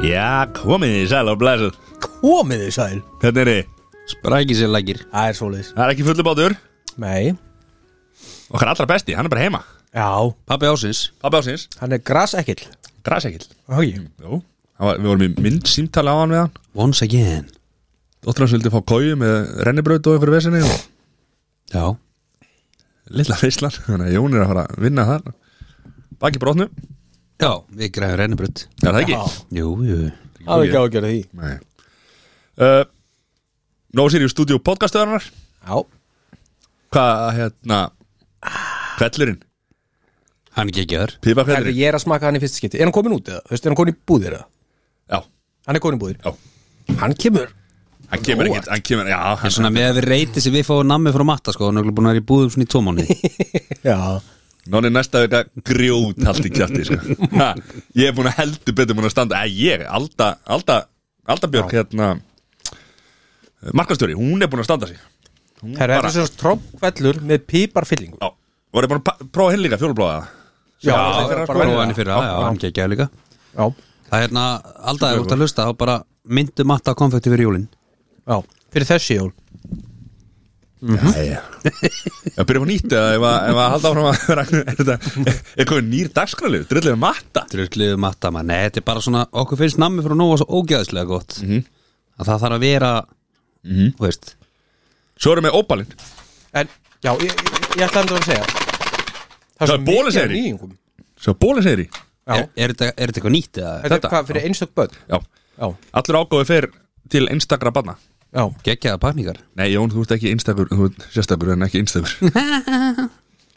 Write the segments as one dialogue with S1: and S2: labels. S1: Já, komið þið sæl og blæsum
S2: Komið þið sæl
S1: Hvernig er þið?
S3: Spræki sér lækir
S2: Það er svoleiðis
S1: Það er ekki fullu bátur
S2: Nei
S1: Okkar allra besti, hann er bara heima
S2: Já
S3: Pappi ásins
S1: Pabbi ásins
S2: Hann er grasekill
S1: Græsekill
S2: Æ
S1: Jú Hann var, Við vorum í mynd símtali á hann við hann
S3: Once again
S1: Dóttir hans vildi fá kóju með rennibraut og einhverju vesinni og
S3: Já
S1: lilla veislan Þannig að Jón er að fara að vinna þar Baki brotnu Er
S3: Já, við græðum rennibrödd
S1: það ekki?
S2: Já.
S3: Jú, jú
S2: Það er ekki á að gera því
S1: Nei uh, Nó Sirius Studio podcastöðarnar
S2: Já
S1: Hvað, hérna Hvellurinn,
S3: Hann ekki ekki aður
S2: Herri,
S1: pipakvellurinn
S2: ég er að smaka hann í fyrsta skipti Er hann komin út eða? Þú veist, er hann komin í búðir eða?
S1: Já,
S2: Hann er komin í búðir
S1: Já.
S2: Hann kemur
S1: hann kemur ekkert Hann kemur, já
S3: En
S1: hann,
S3: svona með að við reyti sem við fáum nammi frá matta sko Hann er örugglega búin að vera í búðum svona í tvo mánuði
S2: Já
S1: Nóni næsta vika grjót allt í kjátti sko. Ha, Ég er búin að heldur betur búin að standa Æ, ég, Alda, Alda, Alda Björk hérna, eh, Markastjóri, hún er búin að standa sig Hún
S2: Herra, þetta
S1: bara,
S2: er svona trompvellur með píparfyllingu
S1: já, Var ég búin að pa- prófa henni líka fjólblóða
S2: Já,
S1: bara
S3: Bara
S1: venjulega.
S3: hann í fyrra, já, hann ekki ekki aður líka
S2: Já
S3: Það er hérna, alltaf er út að hlusta Þá bara myndu matta konfekti fyrir jólin
S2: Já Fyrir þessi jól
S1: Jæja. Já, byrjum að nýta eða ef að, ef að halda áfram að vera er þetta, er komið nýr dagskrálið, drillið að matta
S3: Drulluðu um matta maður Nei, þetta er bara svona Okkur finnst nammi frá Nóa svo ógæðislega gott Að það þarf að vera Þú veist
S1: Svo erum við óbalinn
S2: En, já, ég, ég, ég ætla endur að segja
S1: Það
S2: svo
S1: er bóluseyri.
S2: mikið af nýjungum.
S1: Svo bólinn segir í
S2: Já.
S3: er, er, þetta, er þetta eitthvað nýtt eða
S2: Þetta er hvað fyrir einstök börn
S1: Já,
S2: Já,
S1: allur ágóðu fer til einstakra banna
S2: já
S3: Gekkjaða pakningar
S1: Nei Jón, þú ert ekki einstakur, þú ert sérstakur en ekki einstakur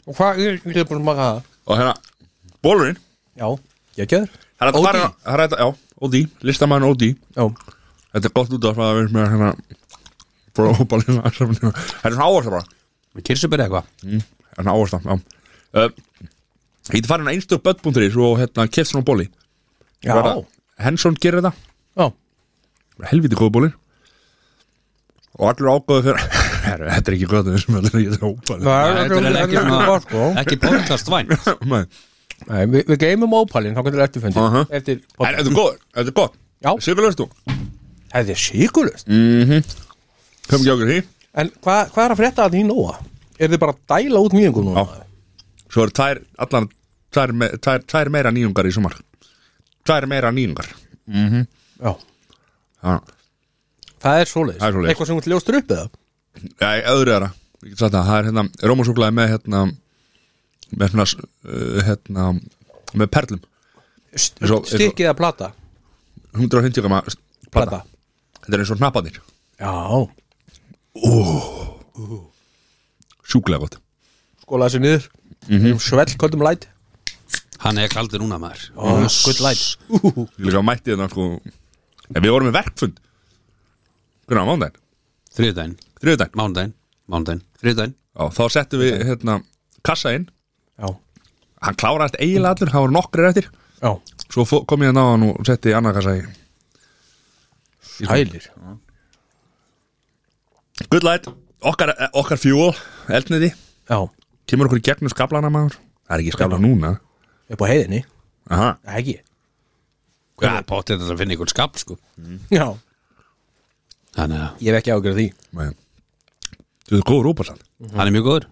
S2: Og hvað, ég ég er búin að maka það
S1: Og hérna, bólurinn
S2: Já, ég kjöður
S1: Það er hægt að
S3: OD.
S1: fara, það er hægt að, já, OD, listamann OD
S2: Já,
S1: Þetta er gott út af að við erum með hérna Frá óbalinn að safninu Það er svona áhersla bara
S3: Kirsubur eitthvað
S1: Mm, Það er svona áhersla, já uh, Ég geti farin að einstöð bötbúndri Svo hérna, keft svona bóli
S2: já,
S1: Bara- Henson gerir þetta
S2: já.
S1: Bara helviti góð bólir og allur ágóðu fyrir Herru, þetta er ekki gott við sem allir ég er óbæli
S2: Það
S3: Þetta er
S2: ekki
S3: ekki
S2: gott sko
S3: svona Ekki podcast væn
S2: Nei, við, við geymum ópalinn, þá getur þetta eftirfundi uh
S1: Mhm.
S2: eftir
S1: En þetta er góð, þetta er gott
S2: Já.
S1: Sigurlaust þú,
S2: Það er síkulust
S1: kom ekki okkur því
S2: En hvað hva er að frétta að því nóa? Er þið bara að dæla út nýjungum núna?
S1: Já. Svo eru tvær, allan tvær, me- tvær, tvær meira nýjungar í sumar Tvær meira nýjungar
S2: já
S1: Já,
S2: Það er svoleiðis
S1: Það er svoleiðis.
S2: Eitthvað sem hún ljóstur upp eða?
S1: Já, ég- öðru er það Það er hérna, rómasúklaði með hérna með svona uh, hérna, með perlum Eins og- eins og-
S2: Stikkið að plata
S1: 150 gama plata
S2: Plata
S1: Þetta er eins og hnappanir
S2: Já
S1: Sjúklega gott
S2: Skóla þessu Sko, niður mm -hmm. Svell kvöldum læt
S3: Hann er kaldur núna maður
S2: Good light
S1: Ég líka mætti þetta sko En við vorum með verkfund Hvernig á mándaginn?
S3: Þriðdæn,
S1: Þriðudaginn?
S3: mándæn, mándæn, þriðdæn
S1: Já, þá settum við hérna kassa inn
S2: Já
S1: Hann kláraðist eiginlega allur, það voru nokkrir eftir
S2: Já
S1: Svo fó- kom ég að ná hann og setti annað kassa í
S2: Sælir
S1: Good light, okkar, eh, okkar fjúl, eldniði
S2: Já
S1: Kemur okkur í gegnum skablana maður Það er ekki skabla núna
S2: Upp á heiðinni
S1: Aha.
S2: Ekki
S3: Hvað er pottið þetta að finna einhvern skap sko
S2: Já
S3: Þannig að
S2: Ég hef ekki ágjörð því
S1: Nei. Þú er góður úparsall
S3: hann er mjög góður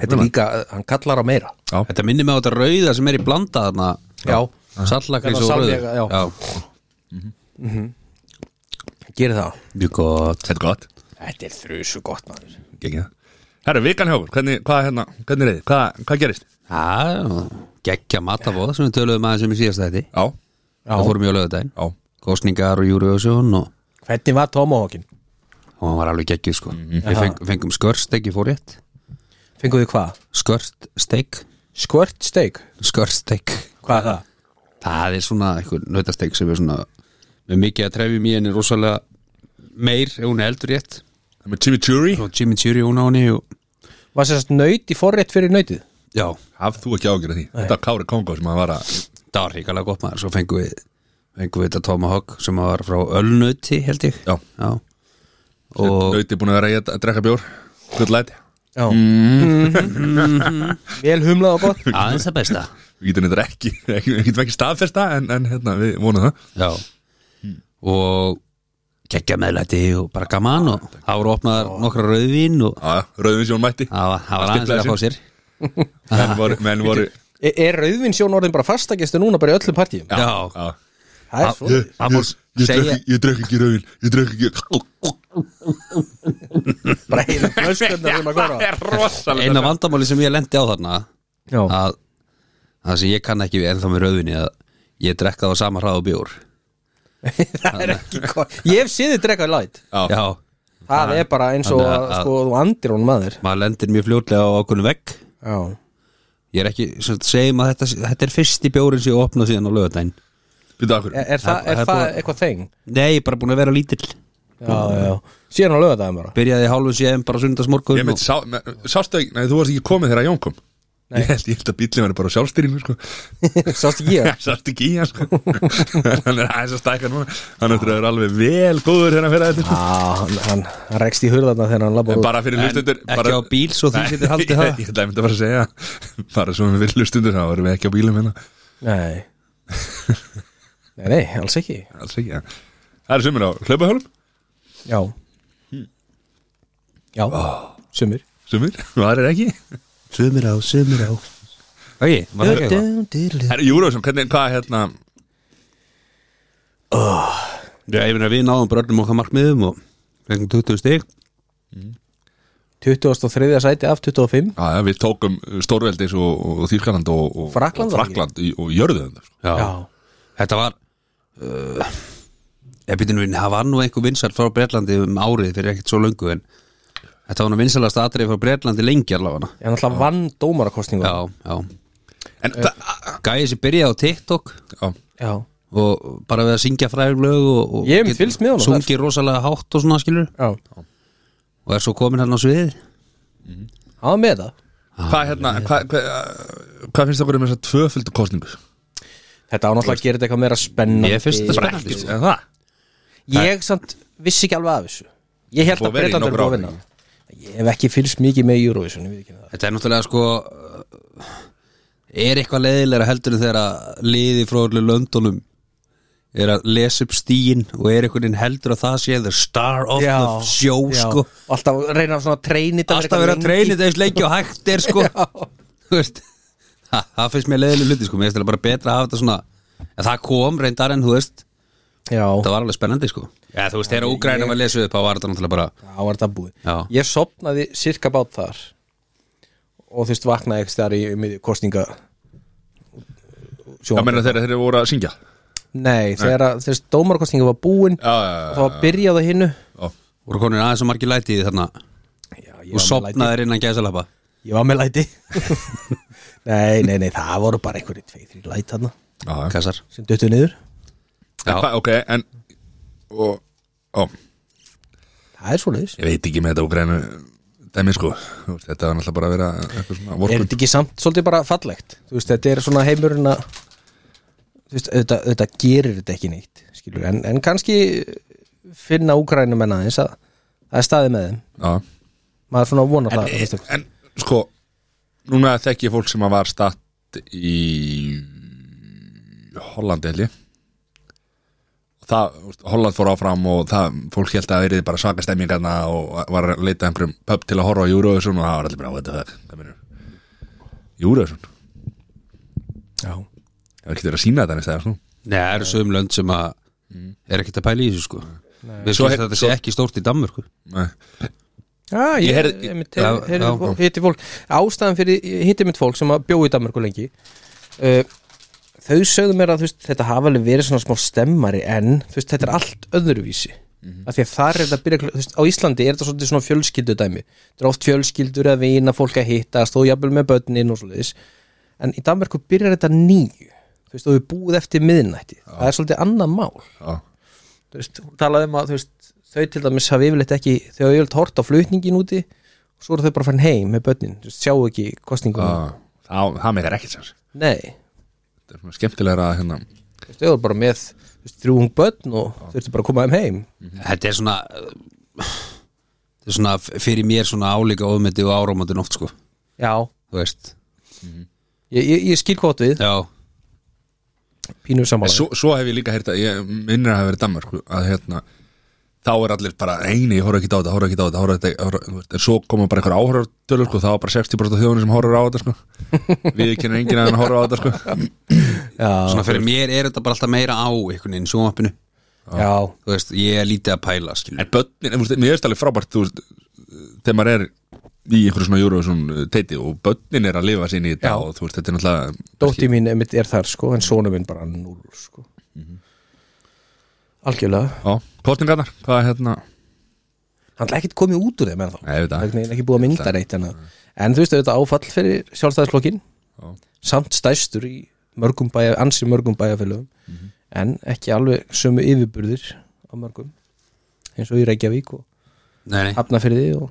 S2: Þetta er líka, hann kallar á meira
S3: Þetta minnir mig á þetta rauða sem er í blanda þarna
S2: Já.
S3: Sallakrís
S2: Þetta
S3: og
S2: salvia,
S3: rauður
S2: já. Gerir það
S3: Mjög gott
S1: Þetta er gott
S2: Þetta er þrjusu gott maður
S1: Gengið Herra, vikan hjá okkur, hvernig, hvað, hérna, hvernig er þið? Hvað, hvað gerist?
S3: Já, geggja matavóð sem við töluðum aðeins um í síðasta þetta
S1: Já,
S3: Það fórum í á lögudaginn
S1: já
S3: Kostningar og Júriðsjón og,
S2: Hvernig var Tomahawkin?
S3: og hann var alveg geggjuð sko Við feng, fengum skörsteg í fórrétt
S2: Fenguðu hvað?
S3: Skörsteg,
S2: Squirt steak?
S3: skörsteg
S2: Hvað er það?
S3: Það er svona einhver nautasteg sem er svona með mikið að trefjum í henni rosalega meir ef hún er eldur rétt
S1: Það er með chimichurri
S3: og Jimmy Chiri hún á henni og...
S2: Var sérst nöyt í forrétt fyrir nöytið?
S3: Já,
S1: Haf þú ekki ágjörð því Þetta var Kári Kongo sem að vara
S3: það var hrikalega gott maður svo fengum við, fengum við þetta Tomahawk sem var frá Ölnöti held ég
S1: Já.
S3: Já. og
S1: Nauti búin að vera í að að drekka bjór Hvern læti
S2: Já Mhm. Vel humlað og gott
S3: aðeins það besta
S1: Við getum þetta ekki Við getum ekki staðfesta En, en hérna, við vonum það
S3: Já og geggja meðlæti og bara gaman og það voru opnaðar nokkra rauðvín og
S1: Já, Rauðvinsjón mætti
S3: það var, það var aðeins
S1: Stiklaði
S3: verið að fá sér
S1: Menn voru, menn voru
S2: Er, E, er rauðvinsjón orðin bara fastagestu núna bara í öllum partíum?
S3: Já,
S1: Já
S2: Það er svo
S3: það voru segja
S1: Ég drekka ekki rauðin Ég drekka ekki
S2: bara heila flöskunnar um að
S1: Það
S2: góra
S1: er rosalega
S3: eina vandamáli sem ég lendi á þarna
S2: Já,
S3: að það sem ég kann ekki við ennþá með rauðvinni að ég drekka það á sama hraða og bjór
S2: það er ekki gott Ég hef séð þið drekkaði læt
S1: Já,
S3: Já,
S2: Það er bara eins og að
S3: Þannig að-
S2: sko þú andir honum að þér
S3: maður lendir mjög fljótlega á okkur vegg
S2: Já
S3: Ég er ekki, sem sagt, segjum að þetta, þetta er fyrsti bjórin sem ég opnað síðan á lögadaginn
S1: býta okkur
S3: Eh,
S2: Er, er það,
S3: Það-
S2: er
S3: það er
S2: það
S3: búið-
S2: eitthvað þeng?
S3: Nei, ég er bara búin að vera lítill
S2: Já, já Síðan á lögadagum bara
S3: Byrjaði í hálfum séðum bara sundarsmorgun
S1: Ég veit, sá, me- sástu ekki, nei, þú varst ekki komið þegar Jón kom
S2: Nei.
S1: Ég held, ég held að bíllinn var bara á sjálfstýringu, sko
S2: Sást ekki ég
S1: Sástu ekki í hann, sko Hann er aðeins að stækka núna Hann eftir að vera alveg vel góður hérna fyrir þetta,
S2: Já, hann, hann, hann rekst í hurðarna þegar hann labba
S1: sko
S2: út
S1: Bara fyrir hlustendur
S3: Ekki
S1: bara,
S3: á bíl svo því
S1: Nei,
S3: sittir
S1: ég-
S3: haldið það
S1: Ég ætla einmitt að fara að segja Bara svo við hlustundur, þá erum við ekki á bílum hérna
S2: Nei Nei, nei, alls ekki
S1: Alls ekki, ja. Það er sumir á hlaupahjólum
S2: Já Já, sumir
S1: Sumir, og það er ekki
S3: Sumir á, sumir á Æi, var það ekki eitthvað?
S1: Það er Júrósson, hvernig, hvað hérna
S3: Já, ég meina við náðum bara öllum okkar markmiðum og fengum 20 stig
S2: 23. sæti af 25
S1: Já, já, við tókum Stórveldis og, og Þýrkaland og, og
S2: Frakkland,
S1: og, Frakland, í- og jörðum það, sko
S2: Já,
S3: Þetta var uh, ég byrja nú inn, það var nú einhver vinsal frá Breitlandi um árið fyrir ekkert svo löngu en þetta var nú vinsalast atrið frá Breitlandi lengi allavega
S2: en alltaf vann dómarakostningu
S3: Já, já
S1: En það,
S3: Gæði sem byrjaði á TikTok
S1: já
S2: Já,
S3: og bara við að syngja frægur lög og, og
S2: Ég hef einmitt
S3: get-
S2: fylgst með honum
S3: sungi rosalega hátt og svona skilur
S2: já
S3: og er svo komin hérna á sviðið
S2: Hann var með það
S1: Hvað hérna, hvað hva, hva finnst okkur um þess að tvöföldu kostningu?
S2: Þetta á náttúrulega að gera þetta eitthvað meira spennandi
S3: Ég finnst þetta spennandi sko.
S1: Ekkert, en það?
S2: Ég samt vissi ekki alveg af þessu Ég held
S1: Búið
S2: að
S1: að vera í
S2: Breitland er
S1: nokkur
S2: búið
S1: ár,
S2: að vinna Ég hef ekki fylgst mikið með Eurovision ég veit ekki það.
S3: Þetta er náttúrulega sko uh, er eitthvað leiðilega heldur en þegar að liði frá öllu löndunum er að lesa upp stíin og er einhvern veginn heldur að það sé the star of the show
S2: já.
S3: sko
S2: Og Alltaf reyna svona að treyna þetta
S3: alltaf verið að treyna þetta eins lengi og hægt er sko Þú veist, það, það finnst mér leiðilega hluti sko, mér finnst þetta bara betra að hafa þetta svona en það kom reyndar en þú veist
S2: Já,
S3: það var alveg spennandi sko Já, þú veist, þegar Úgrænum var lesið upp þá var þetta náttúrulega bara
S2: það var þetta búið
S3: Já.
S2: Ég sopnaði cirka bát þar og þú veist vaknaði ekki þar í miðju kostninga
S1: Já,
S2: sjónvarpi.
S1: menna þeirra þeirra þeir voru að syngja Já,
S2: Nei, þegar að- þú veist dómarkostninga var búin
S1: já,
S2: og
S1: já,
S2: það var byrjað á hinnu
S1: já
S3: voru konin aðeins og margir lætið þarna
S2: Já,
S3: og sopnaðir innan gæsalappa
S2: Ég var með læti Nei, nei, nei, það voru bara einhverjir tvei, þrjir læt þarna
S1: Já, já.
S3: kassar
S2: sem döttu niður
S1: En hvað, ok, en og, ó,
S2: Það er svoleiðis
S1: Ég veit ekki með þetta úr greinu dæmi sko Þú veist, Þetta var náttúrulega bara að vera eitthvað svona
S2: Er
S1: vorkund
S2: þetta ekki samt svolítið bara fallegt? Þú veist, þetta er svona heimurinn að Þú veist, auðvitað, auðvitað gerir þetta ekki neitt skilur, en, en kannski finna úkrænum en aðeins að það er staðið með þeim
S1: Já,
S2: maður svona vonar það
S1: en,
S2: en,
S1: en sko núna þekki ég fólk sem að var statt í Hollandi held ég og það, þú veist, Holland fór áfram og það, fólk held að það verið bara svaka stemmingarna og var að leita að einhverjum pub til að horfa á Eurovision og það var allir bara á þetta það, það minnur Eurovision,
S2: Já,
S1: það er ekki verið að sína þetta sko. næst þegar svona
S3: Nei, það eru sögum lönd sem að er ekkert að pæla í þessu sko Við
S1: Svo
S3: svo
S1: hef-
S3: þetta sé
S1: svo-
S3: ekki stórt í Danmörku
S1: Nei.
S2: já Ah,
S1: Ég
S2: ég, ég
S1: heyrði-
S3: Já, já.
S2: heyrði hitti fólk ástæðan fyrir hitti mitt fólk sem að bjói í Danmarku lengi uh, þau sögðu mér að þú veist, þetta hafa alveg verið svona smá stemmari en þú veist, þetta er allt öðruvísi
S3: Mhm.
S2: af því að þar er þetta að byrja kl- þú veist, á Íslandi er þetta svolítið svona fjölskyldu dæmi þetta er oft fjölskyldur að vina fólk að hittast og jafnvel með börnin og svoleiðis en í Danmarku byrjar þetta nýju þú veist, og við búið eftir miðnætti það er svolítið annað mál
S1: Já.
S2: þú veist, hún talaði um að þú veist, þau til dæmis hafi yfirleitt ekki þau hafi yfirleitt hort á flutningin úti og svo eru þau bara farin heim með börnin þú veist, sjá ekki
S1: Já,
S2: kostninguna
S1: það, það megar ekkert sens
S2: nei,
S1: þetta er svona skemmtilegra að hérna
S2: þú veist, þau eru
S3: Mhm.
S2: bara með þú veist, þrjúung börn og þau eru bara að koma þeim heim
S3: Þetta er svona uh, þetta er svona f- fyrir mér svona álíka ofmyndi og áramöndin oft sko
S2: já,
S3: þú veist,
S2: ég, ég, ég skil hvort við
S3: já,
S2: pínu samanlega
S1: svo, svo hef ég líka heyrt að ég minnir að hafa verið Danmark að hérna þá er allir bara eini, ég horf ekki á þetta, horf ekki á þetta horf ekki á þetta, horf, en svo koma bara einhver áhörartölur sko, þá er bara 60% af þjóðunni sem horfur á þetta sko við kynna enginn að hann horfur á þetta sko
S2: já,
S3: svona fyrir mér er þetta bara alltaf meira á einhvern veginn í sjónvappinu
S2: já,
S3: þú veist, ég er lítið að pæla skilur.
S1: En börnin, þú veist, mér er stærlega frábært þú veist, þegar maður er í einhverju svona Eurovision uh, teiti og börnin er að lifa sín í þetta
S2: Já.
S1: og þú veist, þetta er náttúrulega
S2: dótti mín einmitt er þar sko en sonu minn bara núl sko algjörlega
S1: Já, kostningarnar, hvað er hérna
S2: hann er ekkert komið út úr þeim en þá
S1: Nei, ég veit það.
S2: ekki búið að mynda reitt en, að- en þú veist auðvitað áfall fyrir sjálfstæðisflokkin
S1: Já.
S2: samt stæstur í mörgum bæja ansi mörgum bæjafélögum en ekki alveg sömu yfirburðir á mörgum eins og í Reykjavík og
S3: nei, nei,
S2: Hafnafyrði og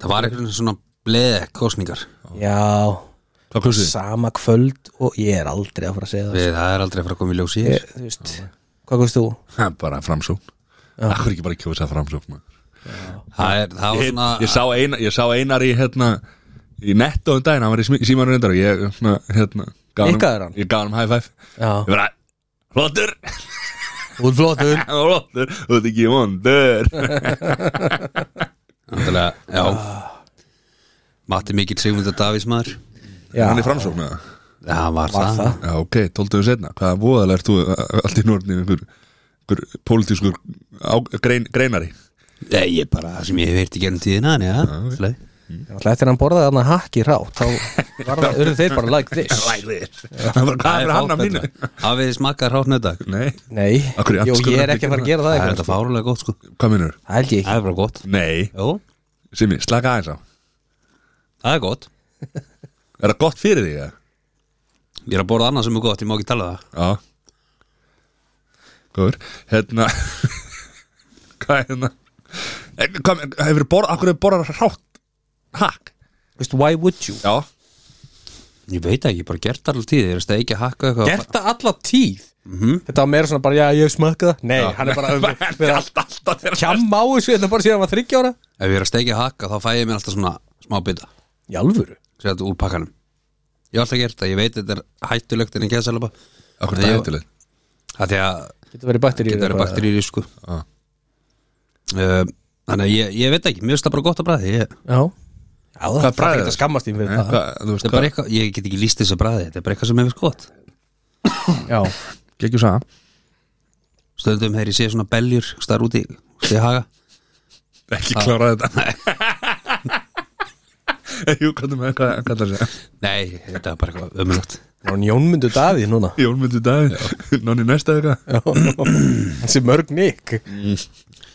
S3: það var einhvern veginn svona bleð kosningar,
S2: já,
S1: Hvað klustu þið?
S2: sama kvöld og ég er aldrei að fara að segja það
S3: Við, það er aldrei að fara að koma í ljós í
S2: ég, þú veist, hvað komst þú?
S1: Ha, Bara framsókn Akkur ekki bara kjósa framsókn maður?
S3: það, er, það var
S1: ég,
S3: svona
S1: ég, sá eina, ég sá einar í hérna í netto um daginn, hann var í smi- símanum reyndar og ég svona, hérna, gaf
S2: Nikkaðir hann?
S1: Ég gaf hann high five
S2: Já,
S1: Ég bara, flottur,
S2: þú er flottur
S1: flottur, þú ert ekki vondur
S3: Náttúrulega, já Matti Mikill Sigmundur Davís maður
S2: Já,
S1: Hann er framsókn eða?
S3: Það var,
S2: var
S3: það,
S2: það
S1: Já, ok, tóltuðu setna, hvaða voðalega ert þú uh, allt í nortni einhver, einhver pólitískur á, grein, greinari
S3: Nei, ég bara, það sem ég hef heyrt í gerum tíðina en já, ja,
S2: Alltaf eftir hann borðaði hann að hakki rátt þá var það, urðu þeir bara like this
S1: Það var hvað er hann að mínu
S3: Hafið þið smakkað hráttnöðdag
S1: Nei,
S2: Nei,
S1: Akkur í
S2: jú,
S1: andskotanum
S2: ég er ekki að fara að gera það
S3: Það er
S2: eitthvað
S3: þetta fárulega gott sko
S1: hvað mínur?
S2: Það held ég ekki
S3: Það er bara gott
S1: Nei,
S3: Jó,
S1: Simi, slaka aðeins á
S3: það er gott
S1: Er það gott fyrir þig? eða?
S3: Ég er að borða annað sem er gott, ég má ekki tala um
S1: Já
S3: það
S1: Góður, hérna Hvað er hérna? Eh, Hvað, hefur borð, akkur hefur borðað rátt Hakk?
S2: Veistu, why would you?
S1: Já
S3: Ég veit ekki, ég bara gert það alveg tíð Ég er að steikja hakka eitthvað
S2: Gert það alla tíð Þetta var meira svona bara, Mhm. já, ég smakka það Nei, hann er bara við að
S1: Allt, allt, allt
S2: kjamma á þessu Þetta bara síðan hann var 30 ára
S3: Ef ég er að steikja hakka þá fæ ég mér alltaf svona smá bita
S2: Í alvöru?
S3: Sér þetta úr pakkanum Ég hef alltaf gert það, ég veit þetta er hættulegt en ekki að selaba
S1: Akkur er það hættilegt
S3: Það því að
S2: Getur verið bakteríur
S3: geta verið
S2: bara-
S3: bakteríur í sko
S1: Já.
S3: Eh, Þannig að ég, ég veit ekki, mér finnst það bara gott að bræði ég,
S2: Já Já, það
S1: Hvað
S2: er bara
S1: bragðið
S2: ekki að
S1: er?
S2: skammast þín fyrir
S1: Nei,
S2: það
S1: Eh, hvað, þú
S3: þetta
S1: veist
S3: er
S1: hvað,
S3: bara eitthvað, ég get ekki líst þess að bræði þetta er bara eitthvað sem hefur gott
S2: Já,
S1: geggjum saman
S3: stundum þegar ég sé svona beljur starf úti, stið haga
S1: Ekki klára þetta Jú, hvað með, hvað, hvað það segja
S3: nei, þetta er bara eitthvað ömulegt
S2: það var njónmyndu daði núna
S1: Jón myndi dag, nonni næsta eitthvað
S2: Hann sé mörg Ah. nikk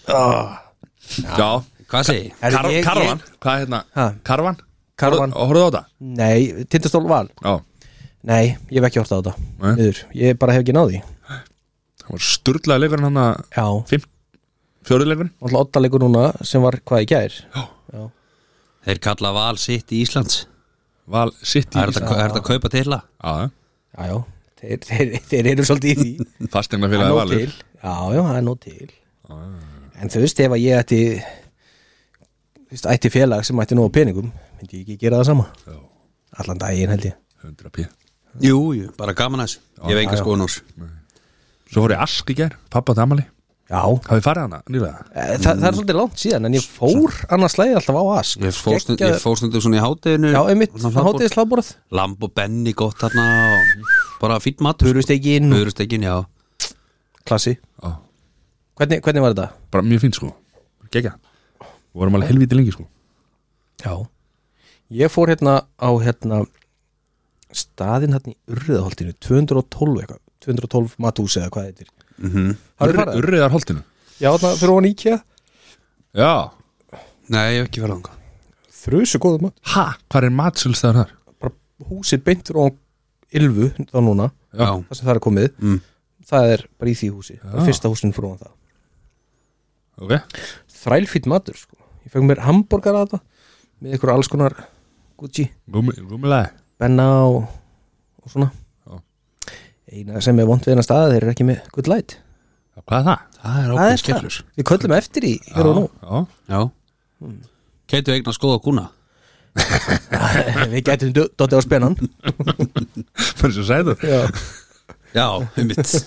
S2: Mm.
S1: Já,
S3: hvað segi ég?
S2: Herri,
S1: Kar
S2: ég-
S1: Karvan, hvað er hérna?
S2: Ha?
S1: Karvan?
S2: Karvan.
S1: Og horfðu á þetta?
S2: Nei, tindastól val
S1: Já,
S2: Nei, ég hef ekki hortað á þetta
S1: Nei.
S2: Miður, Ég bara hef ekki náði
S1: það var sturlaði leikurinn hann að
S2: Já,
S1: fimm, fjórið leikurinn
S2: alltaf ottaleikur núna sem var hvað í gær
S3: þeir kalla val sitt í Íslands
S1: Val sitt í
S3: það er þetta er þetta að kaupa til það
S1: Já,
S2: Já, já, þeir, þeir, þeir eru svolítið í því
S1: fastegna
S2: Það er
S1: félagi
S2: nóg
S1: valur
S2: til Já, já, það er nóg til
S3: Ah.
S2: En þú veist, ef að ég ætti þú veist, ætti félag sem ætti nóg af peningum myndi ég ekki gera það sama
S1: Já.
S2: Allan daginn held ég
S1: 100 pí
S3: jú, jú, bara gaman að þessu, ég hef enga skoðun úr
S1: Svo horfði Ask í gær, pappa og Amali
S2: Já,
S1: Hafið farið hana, nýlega
S2: Þa, það er svolítið langt síðan en ég fór annars lægi alltaf á ask
S3: Mm. ég fór stund-
S2: Geggjaður-
S3: ég fór stundum svona í hátteginu
S2: Já, einmitt, hátíðis hláborð
S3: lamb og benni gott þarna og bara fýtt matur
S2: Purustegin,
S3: Hörustekkin, já
S2: klassi
S1: Já,
S2: hvernig, hvernig var þetta?
S1: bara mjög fín sko Gegja Vorum alveg helviti lengi sko
S2: Já Ég fór hérna á hérna staðinn hérna í Urriðaholtinu 212 eitthvað 212 matús eða hvað þetta er Hafið þið farið?
S1: Urriðar holtinu
S2: Já, þarna fyrir ofan íkja
S1: Já
S3: Nei, ég hef ekki fara langa
S2: Þrjusu góðum mat
S1: Hæ? Hvað er matsölstæður þar?
S2: Bara húsið beint fyrir ofan Ylfu þá núna
S3: Já,
S2: það sem það er komið
S3: Mm.
S2: Það er bara í því húsi
S1: Já.
S2: bara Fyrsta húsin fyrir ofan það
S1: Ok
S2: Þrælfýtt matur sko Ég fekk mér hambúrgar að það Með einhverju alls konar Gucci
S1: Gúmulega
S2: Benna og, og svona
S1: Já.
S2: eina sem er vond við hennar staða þeir eru ekki með good light
S1: Hvað er það?
S3: það er
S2: Það
S3: ákveðin
S2: er það.
S3: skellur
S2: við köllum eftir í hér og nú
S1: Já,
S3: Já, Keitu eignast góða kúna
S2: Við gætum do- dottið á spennan
S1: Fyrir svo sæður
S2: Já,
S3: Já, um mitt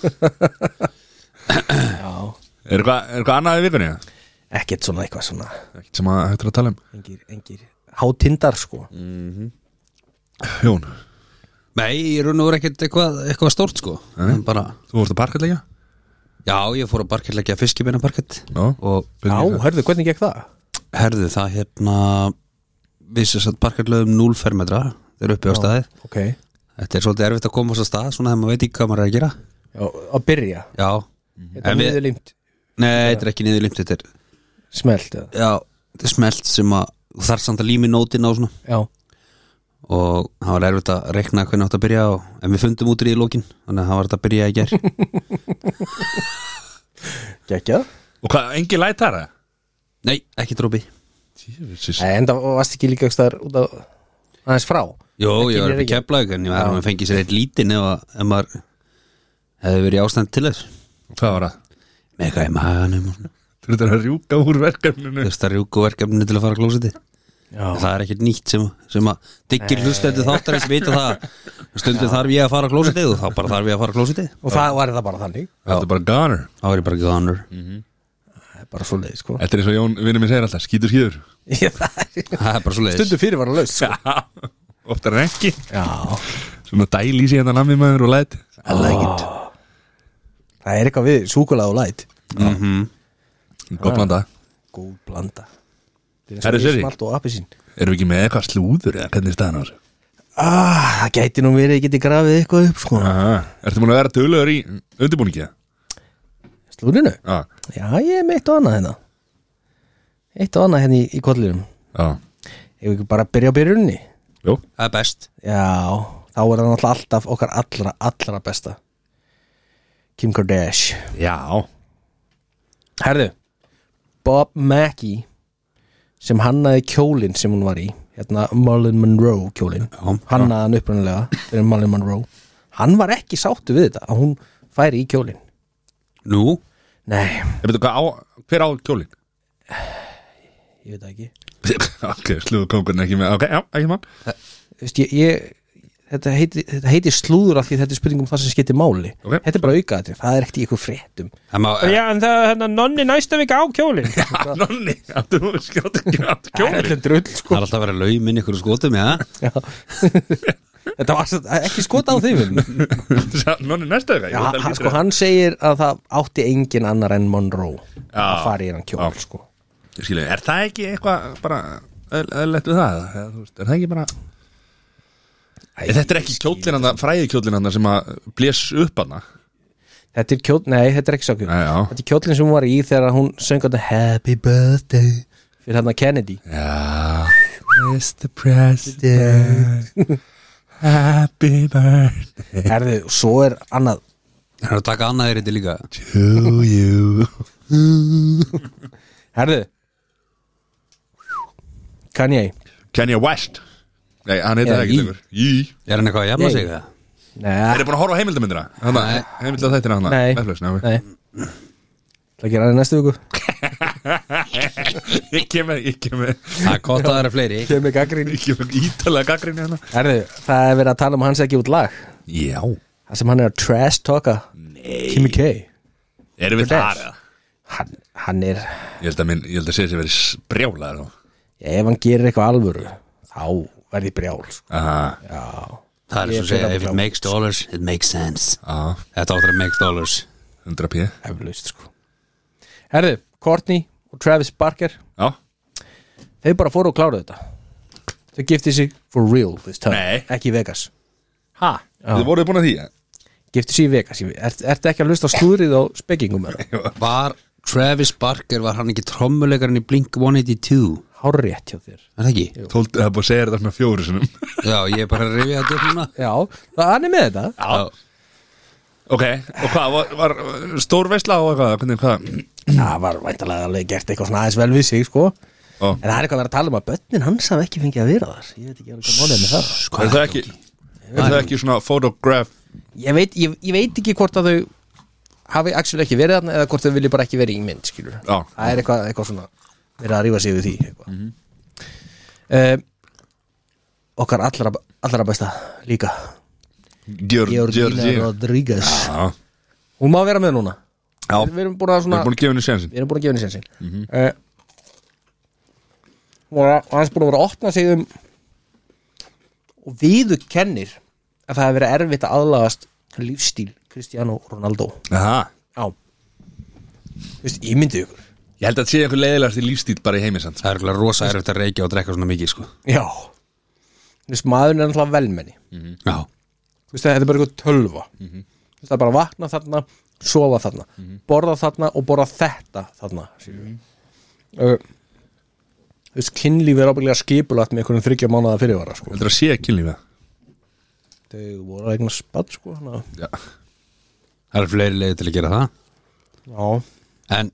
S1: Er eitthvað er eitthvað annað í vikunni?
S2: ekkert svona eitthvað svona
S1: Ekkert sem að hættur að tala um
S2: engir, engir hátindar sko
S1: Jón,
S3: Nei, ég raun og verið ekkert eitthvað, eitthvað stórt sko En bara,
S1: þú vorst að parkað leika?
S3: Já, ég fór að parkettleggja fiskibina parkett
S1: Já.
S3: Og
S2: Já, hörðu, hvernig gekk það?
S3: herðu það hérna Við sér satt parkettlegum 0 fermetra Þeir eru uppi á staðið
S2: Ok, já,
S3: Þetta er svolítið erfitt að koma á þess að stað Svona þegar maður veit ekki hvað maður er að gera
S2: að byrja
S3: Já,
S2: Þetta
S3: En
S2: er
S3: við-
S2: niður límt
S3: nei, þetta er ekki niðurlimt Þetta er,
S2: Smelt, eða?
S3: já, þetta er smelt sem að Þú þarf samt að lími nótin á svona
S2: já
S3: og það var erfitt að rekna hvernig átt að byrja á, en við fundum út í lókin þannig að það var þetta að byrja í ger
S2: Gekkjað
S1: Og hvað, engi læt þar að?
S3: nei, ekki drópi
S1: Jöfisins
S2: En það varst ekki líka ekki staðar út að aðeins frá
S3: Jó,
S2: Ekki
S3: ég var upp í
S2: niður í Reykjavík.
S3: keflaug en ég var að fengi sér eitt lítinn ef, að- ef maður hefði verið í ástand til þess
S1: Hvað var það?
S3: með eitthvað í maganum og svona.
S1: Þú ert að rjúka úr verkefninu
S3: þurft að rjúku verkefninu til að fara að klósiti
S2: Já,
S3: það er ekkert nýtt sem, sem að diggir hlustandi þáttarins vita það stundum þarf ég að fara að klósiti og þá bara þarf ég að fara að klósiti
S2: og það var það bara þannig
S1: Þetta er bara goner
S3: þá er ég bara gánur
S2: Það er bara svo leið, sko
S1: Þetta er eins og Jón vinnum minn segir alltaf Skítur skítur
S2: Ég- það er-
S3: það er bara svo leiðis
S2: Stundum fyrir var að laus sko.
S1: Oftar en ekki
S2: Já,
S1: Svona dæl í sig hérna nammi maður og læt I like it
S2: það er eitthvað við súkulað og læt
S1: Góð blanda
S2: Góð blanda
S1: Herri, Sirrý.
S2: Smalt og appisín
S1: Erum við ekki með eitthvað slúður eða hvernig er staðan á þessu?
S2: ah, Það gæti nú verið að geti grafið eitthvað upp sko.
S1: Aha. Ertu múin að vera tölugur í undirbúningi?
S2: Slúrinu?
S1: Já,
S2: Já, ég er með eitt og annað hérna Eitt og annað hérna í, í kollinum
S1: já,
S2: Ef við ekki bara að byrja á byrjunni
S1: jú
S3: það er best
S2: Já, þá er það náttúrulega alltaf okkar allra, allra besta Kim Kardashian
S1: Já,
S2: Herðu Bob Mackie sem hannaði kjólinn sem hún var í hérna Marlon Monroe kjólinn hannaði hann upprunalega fyrir Marlon Monroe hann var ekki sáttu við þetta að hún færi í kjólinn
S3: nú,
S2: nei,
S1: ég veit hvað á, hver á kjólin?
S2: ég veit það ekki
S1: ok, slúður kongurinn ekki með, ok, já, ekki mann
S2: Vist, ég, ég, þetta, heiti, þetta heiti slúður af því þetta er spurning um það sem skiptir máli
S1: Ok.
S2: þetta er bara aukaðatri, það er ekkert í ykkur fréttum
S3: það má,
S4: Já, en það, hérna, nonni næsta vika á kjólinn
S1: Nonni, áttu nú skjátt ekki átt
S2: það er
S1: kjólin
S2: allir drull
S3: það
S2: sko
S3: er alltaf að vera laumin ykkur skotum, já
S2: Já. þetta var satt- ekki skota á þeim
S1: Nonni næstu eitthvað, ég
S2: Já,
S1: veit
S2: hann,
S1: alveg
S2: sko, hann segir að það átti engin annar en Monroe að fara í hann kjól
S1: Já.
S2: sko.
S1: Ég skilu, er það ekki eitthvað bara öllett við það? Eða, þú veist, er það ekki bara Æ, Þetta er ekki kjólinanda, fræði kjólinanda sem að blés upp hana
S2: þetta er kjól, nei, þetta er ekki sá kjól
S1: Já, já.
S2: þetta er kjólinn sem hún var í þegar hún söng hann Happy Birthday fyrir hann að Kennedy
S1: Já Mr. President Happy birthday
S2: Herðu, svo er annað
S3: Það er að taka annað er þetta líka
S1: to you
S2: Herðu Kanye
S1: Kanye West Nei, hann heitir
S2: Já,
S1: það ekki
S2: í.
S1: lengur Í
S3: Er hann eitthvað að jafna sig það?
S2: Nei,
S1: Þeir eru búin að horfa á heimildamindina Hanna, heimildar þættina hanna
S2: Nei.
S1: Netflix, nei.
S2: nei Það gerir hann í næstu viku
S1: Ég kem með, ég kem með
S3: Það er gott að það eru fleiri
S2: Kemur gaggrín
S1: Ég kem með ítalega gaggrinni hanna
S2: Herðu, það er verið að tala um hans ekki út lag
S1: Já
S2: Það sem hann er að trash talka Kimi K
S1: Erum við
S2: Kardashian.
S1: þar? eða?
S2: hann, hann er
S1: Ég held að minn, ég held að segja sér verið brjálaður og-
S2: Ef hann gerir eitthvað alvöru Þá verði brjál sko.
S1: Aha,
S2: Já
S3: Það er
S2: Ég
S3: svo að segja
S2: fíla
S3: If it
S2: bara-
S3: makes dollars, it makes sense
S1: á,
S3: Þetta áttur að make dollars
S1: 100 p
S2: eflaust sko Herðu, Courtney og Travis Barker
S1: Já,
S2: þeir bara fóru og kláruðu þetta þau giftið sig for real this time
S1: Nei.
S2: ekki í Vegas ha?
S1: þið voruð búin að því
S2: giftið sig í Vegas Ég- ert, ertu ekki að hlusta á slúðrið á spekkingum eða?
S3: Var Travis Barker, var hann ekki trommuleikarinn í Blink-182?
S2: hárétt hjá þér
S3: Er það ekki?
S1: Tóldu, það er búin að segja þetta svona fjóru sinum
S3: Já, ég er bara að rifja þetta upp núna
S2: já, það hann er með þetta
S3: Já,
S1: Ok, og hvað, var, var stór veisla og eitthvað, hvernig, hvað
S2: það var væntalega alveg gert eitthvað svona aðeins vel við sig sko
S1: Ó,
S2: en það er eitthvað að vera að tala um að börnin hans hafa ekki fengið að vera þar ég veit ekki alveg hvað málið er með það
S1: er það ekki Er það ekki svona photograph
S2: ég veit, ég, ég veit ekki hvort að þau hafi actually ekki verið þarna eða hvort þau vilji bara ekki verið í mynd skilur
S1: Já.
S2: það er eitthvað, eitthvað svona verið að rífa sig við því mm -hmm. okkar allra, allra besta líka Georgina
S1: Georgina
S2: Rodríguez
S1: Já,
S2: hún má vera með núna
S1: já,
S2: við erum búin að
S1: við
S2: svona
S1: erum búin að Mhm. gefa henni sensin
S2: við erum búin að gefa henni sensin mm -hmm. uh, hún var aðeins búin að vera að opna sig um og viðu kennir að það hefur verið erfitt að aðlagast lífstíl Cristiano Ronaldo
S1: Aha.
S2: já Þú veist, ég myndi ykkur
S1: Ég held að þetta sé einhver leiðilegast í lífstíl bara í heimisand
S3: Það er alveg rosa erfitt að reykja og drekka svona mikið sko.
S2: já Þú veist, maðurinn er náttúrulega velmenni
S3: Já,
S2: Þú veist, þetta er bara eitthvað tölva Þú veist, það er bara að vakna þarna, sofa þarna borða þarna og borða þetta þarna mm uh, Þú veist, kynlíf er ábyggilega skipulagt með einhvern þryggja mánuða fyrirvara sko.
S1: Heldur að sé að kynlífa
S2: Þau voru að eigna spatt sko hana.
S1: Já,
S3: það er fleiri leiði til að gera það
S2: Já,
S3: En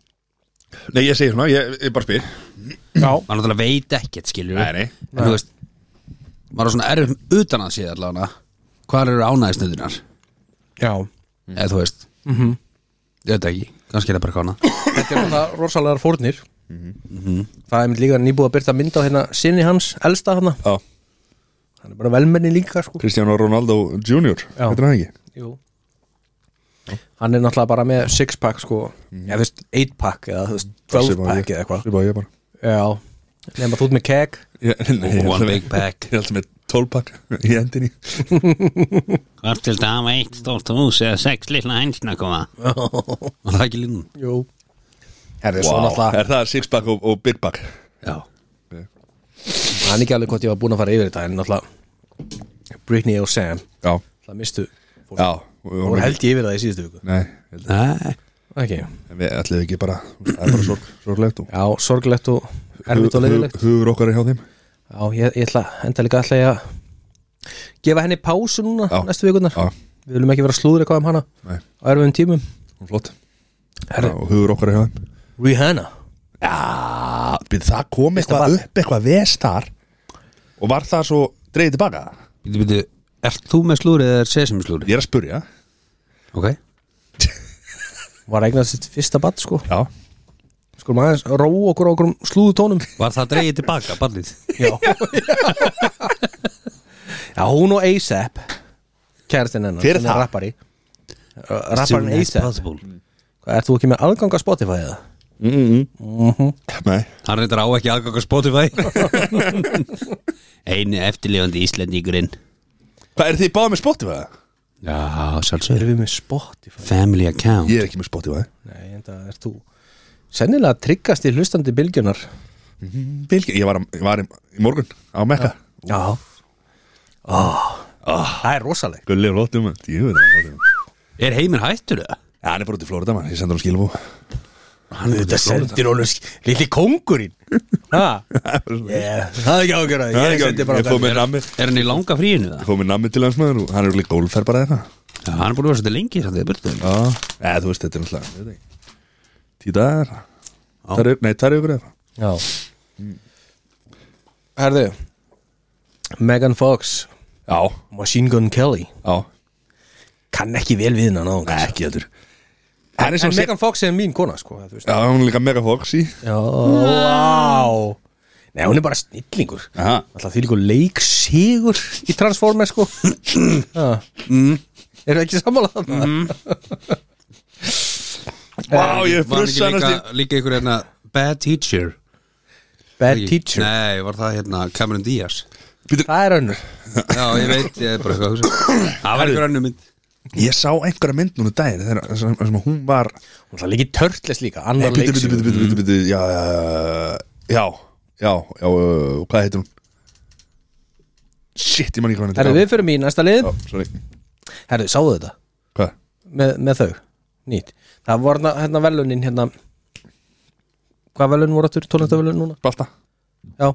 S1: Nei, ég segi svona, ég, ég bara spyr
S2: já,
S3: maður náttúrulega veit ekkert skilur
S1: Nei, nei.
S3: En þú veist Maður er svona erfitt utan að séð allavega Hvar eru ánæðisnöðunar
S2: já.
S3: Eða þú veist mm -hmm. Ég veit það ekki, kannski er það bara kána
S2: Þetta er það rosalegar fórnir Það er einmitt líka nýbúið að byrta mynd á hérna sinni hans, elsta hana
S1: Já,
S2: Hann er bara velmenni líka sko
S1: Cristiano Ronaldo Jr.
S2: Já.
S1: Þetta er hann ekki
S2: Jú Hann er náttúrulega bara með six pack sko Já, þú veist, eight pack eða þú veist, 12 pack eða eitthvað
S1: Svipa ég bara
S2: Já, nefnum að þú ert með keg
S1: ég, nei, ég
S3: One
S1: held að-
S3: big pack
S1: Ég held sem er 12 pakk í endinni
S5: Hvort til það hafa eitt stórt hús eða sex lilla hænsna koma?
S3: Og það er ekki línun
S2: Jú Herri, svo
S1: Vá,
S2: náttúrulega
S1: Er það six pack og, og big pack?
S3: Já,
S2: Hann er ekki alveg hvort ég var búin að fara yfir þetta en náttúrulega Britney og Sam
S1: Já,
S2: Það mistu,
S1: já
S2: voru held ég yfir það í síðustu viku
S1: Nei, ég held
S3: nei
S2: okay.
S1: að- við ætlum ekki bara Það er bara sorg, sorglegt og
S2: Já, sorglegt og erfitt og leiðilegt
S1: Hu- hu- Hugur okkar er hjá þeim
S2: Já, ég, ég ætla enda líka ætla ég að gefa henni pásu núna
S1: Já.
S2: næstu vikunar
S1: Já,
S2: Við viljum ekki vera að slúður eitthvað um hana
S1: nei,
S2: á erfum tímum
S1: hún er flott
S2: Herri.
S1: Já, Og hugur okkar er hjá þeim
S2: Rihanna
S1: Já, býr, Ah, það kom
S2: Fyrsta
S1: eitthvað
S2: barn.
S1: upp eitthvað vestar Og var það svo dreigð tilbaka?
S3: Býtu, býtu, ert þú með slúri eða er sesimi slúri?
S1: Ég er að spurja
S3: Ok
S2: var að eignast sitt fyrsta batt sko
S1: Já,
S2: Skulum aðeins róa okkur á okkur slúðutónum
S3: Var það dreigið tilbaka, barnið?
S5: um
S2: Já Já, hún og A$AP Kærastinn hennar
S1: Hver er
S2: sem er
S1: það?
S2: Rappari Uh, Rapparinn A$AP Hvað, Ert þú ekki með aðgang að Spotify eða? Mm-hmm.
S1: Mhm. nei
S3: Hann reyndar á ekki aðganga Spotify
S5: Einu eftirlifandi Íslandíkurinn.
S1: Hvað er þið báðið með Spotify?
S3: Já, sjálfsögur
S2: Erum við með Spotify?
S3: Family account
S1: Ég er ekki með Spotify
S2: Nei, en það er þú Sennilega tryggast í hlustandi bylgjunar
S1: Bylgja, ég var, ég var í, í morgun á Mekka
S2: Já Ah. oh. Það er rosaleg
S1: Gulli og lóttum Jú, það er lóttum
S3: Er heiminn hættur það?
S1: Já, hann er bara út í Florida, mann, ég sendur hann skilabú
S2: Hann þetta sendir honum Lilli kóngurinn Ha? Yeah, Það er ekki ágjörða Ég sendi bara
S1: Ég fóð með nammi
S3: Er hann í langa fríinu það?
S1: Fóð með nammi til hans maður og hann er líka gólfer bara þeirna
S3: Já, hann er búin að vera svolítið lengi samt í burtu
S1: Já, eða þú veist, þetta er náttúrulega Tíðar Nei, það er ykkur eða
S2: Já Herðu Megan Fox
S1: Já,
S2: Machine Gun Kelly
S1: já,
S2: Kann ekki vel við hennar náðum
S1: Nei, ekki þetta Hann er
S2: En
S1: sem sé Já,
S2: Megan Fox er mín kona sko þú veist.
S1: hún er líka mega foxy
S2: Já, vá Nei, hún er bara snillingur
S1: Aha.
S2: Alltaf því líka leik sigur í Transformers sko Já. Eru ekki sammála þarna?
S1: Vá, ég er
S3: Var hann
S1: frussa
S3: ekki
S1: hann að
S3: líka, líka ykkur hérna Bad teacher
S2: Bad
S3: Ekki-
S2: Teacher
S3: Nei, var það hérna Cameron Diaz
S2: Það er önnur
S3: Já, ég veit, ég er bara eitthvað að hugsa Það var ykkur annu mynd
S1: Ég sá einhverja mynd núna daginn þegar þar sem þar sem hún var
S2: Hún er líka í Turtles líka Annar
S1: Bitu, bitu,
S2: leiksigur
S1: bitu, bitu, bitu, bitu Já, já, já, já, já uh, Hvað heitir hún? Shit, ég man ekki hvað hann
S2: Herðu,
S1: heitir
S2: við fyrir mín næsta lið
S1: Já, Sorry,
S2: Herðu, sáðu þetta?
S1: hvað?
S2: með, með þau nýtt það var hérna, hérna velunin hérna hvað velun voru áttur tónlistavelun núna
S1: Balta?
S2: já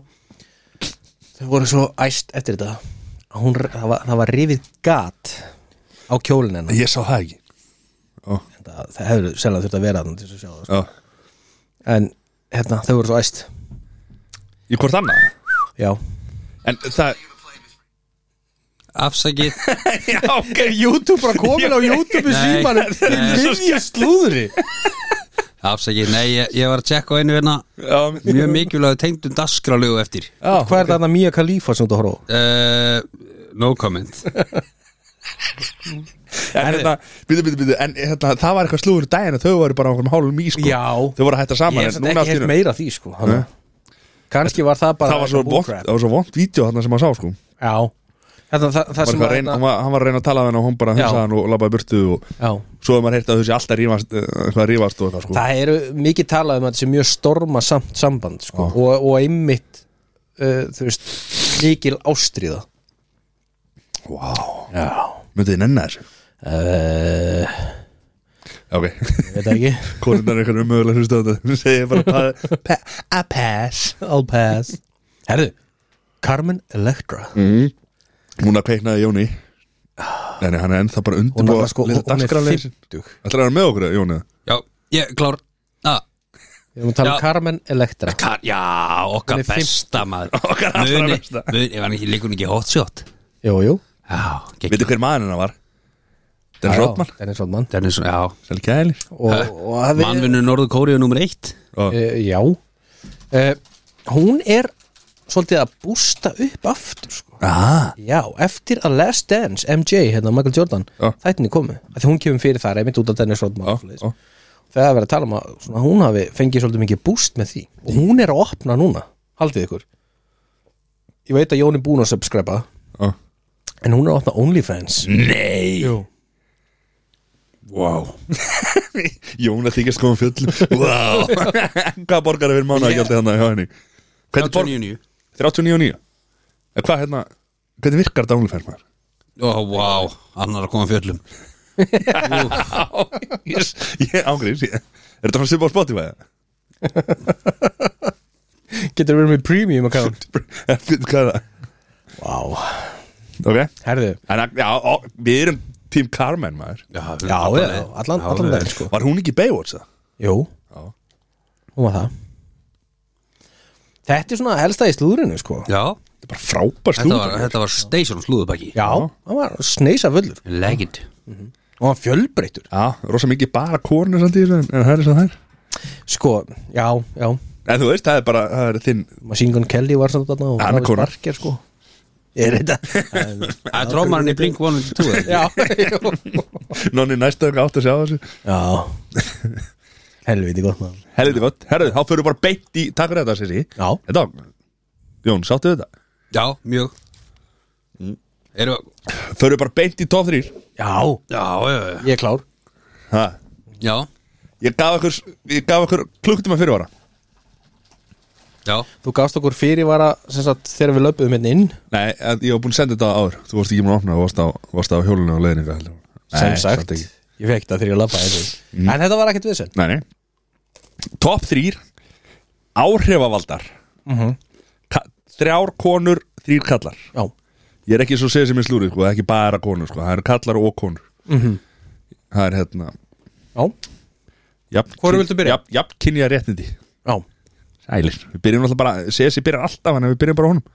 S2: þau voru svo æst eftir þetta að hún, það, var, það var rifið gat á kjólin hennar
S1: Ég sá það ekki Ó,
S2: það, það hefur selvað þurft að vera þannig til þess að sjá það sko.
S1: já
S2: en hérna þau voru svo æst
S1: Í hvort annað?
S2: já
S1: En það
S3: Afsakið
S1: Já, ok
S2: YouTube bara komin á YouTube í
S3: Nei.
S2: símanum
S3: Nei.
S2: miðju slúðri
S3: Afsækið, nei, ég, ég var að tjekka á einu hérna
S1: Já,
S3: Mjög mikilvæg tengdum daskralögu eftir
S2: Hvað er þarna Mía Khalifa sem þú horfa á?
S3: uh, No comment
S1: en hérna, byrju, byrju, byrju En hérna, það var eitthvað slúður daginn að þau voru bara á einhverjum hálfum í sko
S2: Já.
S1: Þau voru að hætta saman
S2: Ég
S1: en
S2: hef
S1: núna
S2: ekki
S1: allt í
S2: heyrt
S1: einu-
S2: meira af því sko þannig að- Kannski var það bara
S1: Það var svo
S2: eitthvað
S1: vont,
S2: bullcrap.
S1: það var svo vont vídeo þarna sem maður sá sko Hann
S2: Já Þetta, það, það
S1: var,
S2: sem hérna-
S1: eitthvað að reyna, hann, var, hann var að reyna að tala við henn og hún bara
S2: Já.
S1: hinsa hann og labbaði í burtu og
S2: Já
S1: svo hefur maður heyrt að þau sé alltaf rífast, eh, eitthvað að rífast og eitthvað sko
S2: Það eru mikið talað um að þetta sé mjög storma samt samband sko og, og einmitt uh, þú veist mikil ástríða
S1: Vá,
S2: Já
S1: myndið þið nenna þessu
S2: uh,
S1: Já, Ok,
S2: Veit það ekki
S1: konundar er eitthvað umögulega hlusta á þetta Hún segir bara pa, pa, I pass
S2: I'll pass Herðu Carmen Electra
S1: Hún að kveiknaði Jóni Nei, nei, hann er ennþá bara
S2: Hún
S1: undirbúið
S2: er sko Hún er 50
S1: dagskrarlegin Það er að vera með okkur, Jóni
S3: Já, ég klár ah,
S2: Við erum að tala um
S3: Já.
S2: Carmen Electra
S3: kar, Já, okkar
S2: Hann er
S3: besta maður
S1: Okkar allra
S3: Muni-
S1: besta.
S3: muni- Ég var ekki líkun ekki hot shot
S2: Jú, jú
S3: Já, gekk
S1: Veitu hver maður hennar var? Dennis
S2: Já,
S1: Rodman
S2: Dennis Rodman
S3: Dennis, já
S1: Sæl kælir
S2: Og, og að við-
S3: Mannvinnu Norður Kóriðu nummer eitt
S2: uh, Já uh, Hún er svolítið að bústa upp aftur sko.
S1: ah,
S2: Já, eftir að Last Dance MJ, hérna Michael Jordan
S1: Já.
S2: þættinni komu, af því hún kemur fyrir þar einmitt út af Dennis Rodman og svoleiðis.
S1: já.
S2: þegar að vera að tala um að svona, hún hafi fengið svolítið mikið búst með því og hún er að opna núna, haldið ykkur Ég veit að Jón er búin að subscriba
S1: Já.
S2: en hún er að opna OnlyFans
S1: Nei
S2: Jú.
S1: Wow Jón að þykja skoðum fjöll Wow Hvað borgar er fyrir mánu að gjaldi hann hjá henni? Hvernig borgar?
S3: 39
S1: 39 og 9 En hvað hérna Hvernig virkar þetta OnlyFans maður?
S3: Ó, vá, annar að koma fjöllum
S1: Yes Ég ángriðs Er þetta frá Sibba á Spotify?
S2: Getur verið með premium account
S1: Hvað er það?
S2: Vá,
S1: Ok
S2: herðu
S1: En að- já, ó, við erum Team Carmen maður
S3: Já,
S2: Já, já, allan, allan veginn sko
S1: Var hún ekki í Baywatch það?
S2: Jú,
S1: Já.
S2: hún var það Þetta er svona helsta í slúðrinu sko
S3: Já,
S1: Þetta er bara frábær
S3: þetta
S1: slúður
S3: var, þetta var station slúðubæki
S2: Já, hann var sneisa fullur
S3: Legit
S2: og hann fjölbreytur
S1: Já, rosa mikið bara konu samt í þessu en- En það er svo það er
S2: Sko, já, já,
S1: En þú veist, það er bara Það er þinn
S2: Machine Gun Kelly var samt þarna og
S1: Hann er
S2: Travis
S1: kona.
S2: Barker sko Er þetta?
S3: Trómarinn í Blink 102
S2: já, jú.
S1: Nonni næsta okkar átt að sjá þessu
S2: já Helviti gott maður
S1: Helviti gott Herðu, þá fyrir bara beint í Takk fyrir þetta, Sissi
S2: Já,
S1: Þetta, Jón, sáttu þetta
S3: Já, mjög Eru
S1: Fyrir bara beint í top 3
S2: já,
S3: Já, já, já
S2: ég er klár
S1: ha.
S3: Já,
S1: Ég gaf ykkur, ég gaf ykkur klukktum að fyrirvara
S3: já
S2: Þú gafst okkur fyrirvara sem sagt þegar við löpuðum hérna inn
S1: Nei, en ég var búin að senda þetta áður Þú varst ekki múin að opna, þú varst á, varst á hjólunni og leiðninga heldur
S2: sem
S1: Nei,
S2: sagt,
S1: samt ekki.
S2: ég fekk það þegar ég labbaði mm. En þetta var ekkert við
S1: Nei, nei Top 3 Áhrifavaldar Ka- Þrjár konur, þrýr kallar
S2: Já,
S1: Ég er ekki svo segið sem ég slúrið, sko, það er ekki bara konur sko. Það eru kallar og konur Það er hérna
S2: já,
S1: jafn,
S2: Hvoru viltu byrja?
S1: Jafn, jafn kynja réttindi
S2: já
S1: Sælir Við byrjum alltaf bara, segið sér byrjar alltaf Þannig að við byrjum bara á honum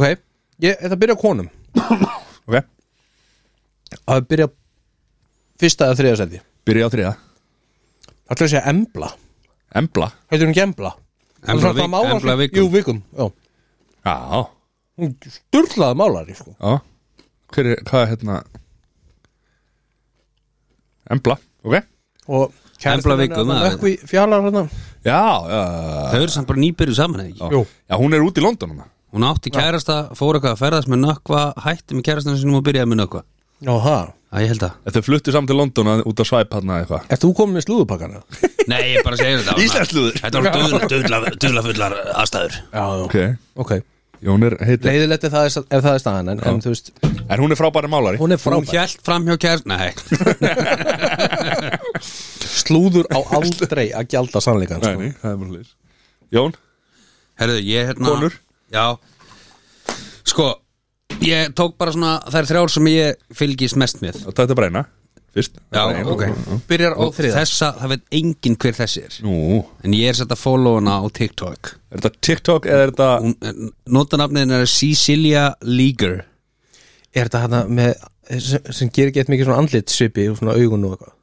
S2: Ok, ég, það byrja á konum
S1: Ok,
S2: að byrja á fyrsta eða þriða seti
S1: byrja á þriða
S2: Það ætla að segja embla
S1: Embla
S2: Heitir hún ekki embla? Hún
S3: Embla
S2: er svona
S3: Vik-
S2: málar-
S3: Embla Vikum.
S2: Jú, vikum, já
S1: Já,
S2: Hún sturlaði málari, sko
S1: já Hver er, hvað er hérna Embla, ok
S2: Og kærastinn
S3: Embla
S2: hennar,
S3: Vikum,
S2: hann
S3: það er-
S2: Rökkvi fjalar hérna
S1: Já, já,
S3: Þau eru samt bara nýbyrjuð saman eða ekki
S1: já, já hún er út í London hana.
S3: Hún átti kærasta, fór eitthvað að ferðast með nökkva Hætti með kærastanum sinum og byrjaði með nökkva
S2: Já, það
S3: Það ég held að
S1: Þau fluttu saman til London að- út á svæp hana eitthvað
S2: Ert þú komin með slúðupakkana?
S3: Nei, ég bara segir þetta
S1: Íslandslúður
S3: Þetta var duðlafullar duðla, duðla aðstæður
S2: Já, já
S1: Ok,
S2: Ok,
S1: Jón er heitir
S2: leiðilegt ef það er, ef það er staðan en, en þú veist,
S1: En hún er frábæri málari
S2: hún er
S3: Hún
S2: frábæð
S3: hjælt fram hjá kærast Nei,
S2: Slúður á aldrei að gjalda sannleikan
S1: Nei,
S2: sko.
S1: nei, það er bara hlýs Jón,
S3: herðu, ég hérna
S1: Konur.
S3: Já Sko, ég tók bara svona þær þrjár sem ég fylgist mest með
S1: þá þetta bara eina Fyrst
S3: Já,
S1: Bara eina.
S3: ok
S2: Byrjar á
S3: Og
S2: þriða
S3: þessa, það veit enginn hver þessi er
S1: Nú,
S3: En ég er sett að follow hana á TikTok
S1: er þetta TikTok eða er þetta
S3: Hún- eh, Notanafniðin er Cecilia Leager
S2: Er þetta hana með sem, sem gerir gett mikið svona andlit svipi og svona augun og eitthvað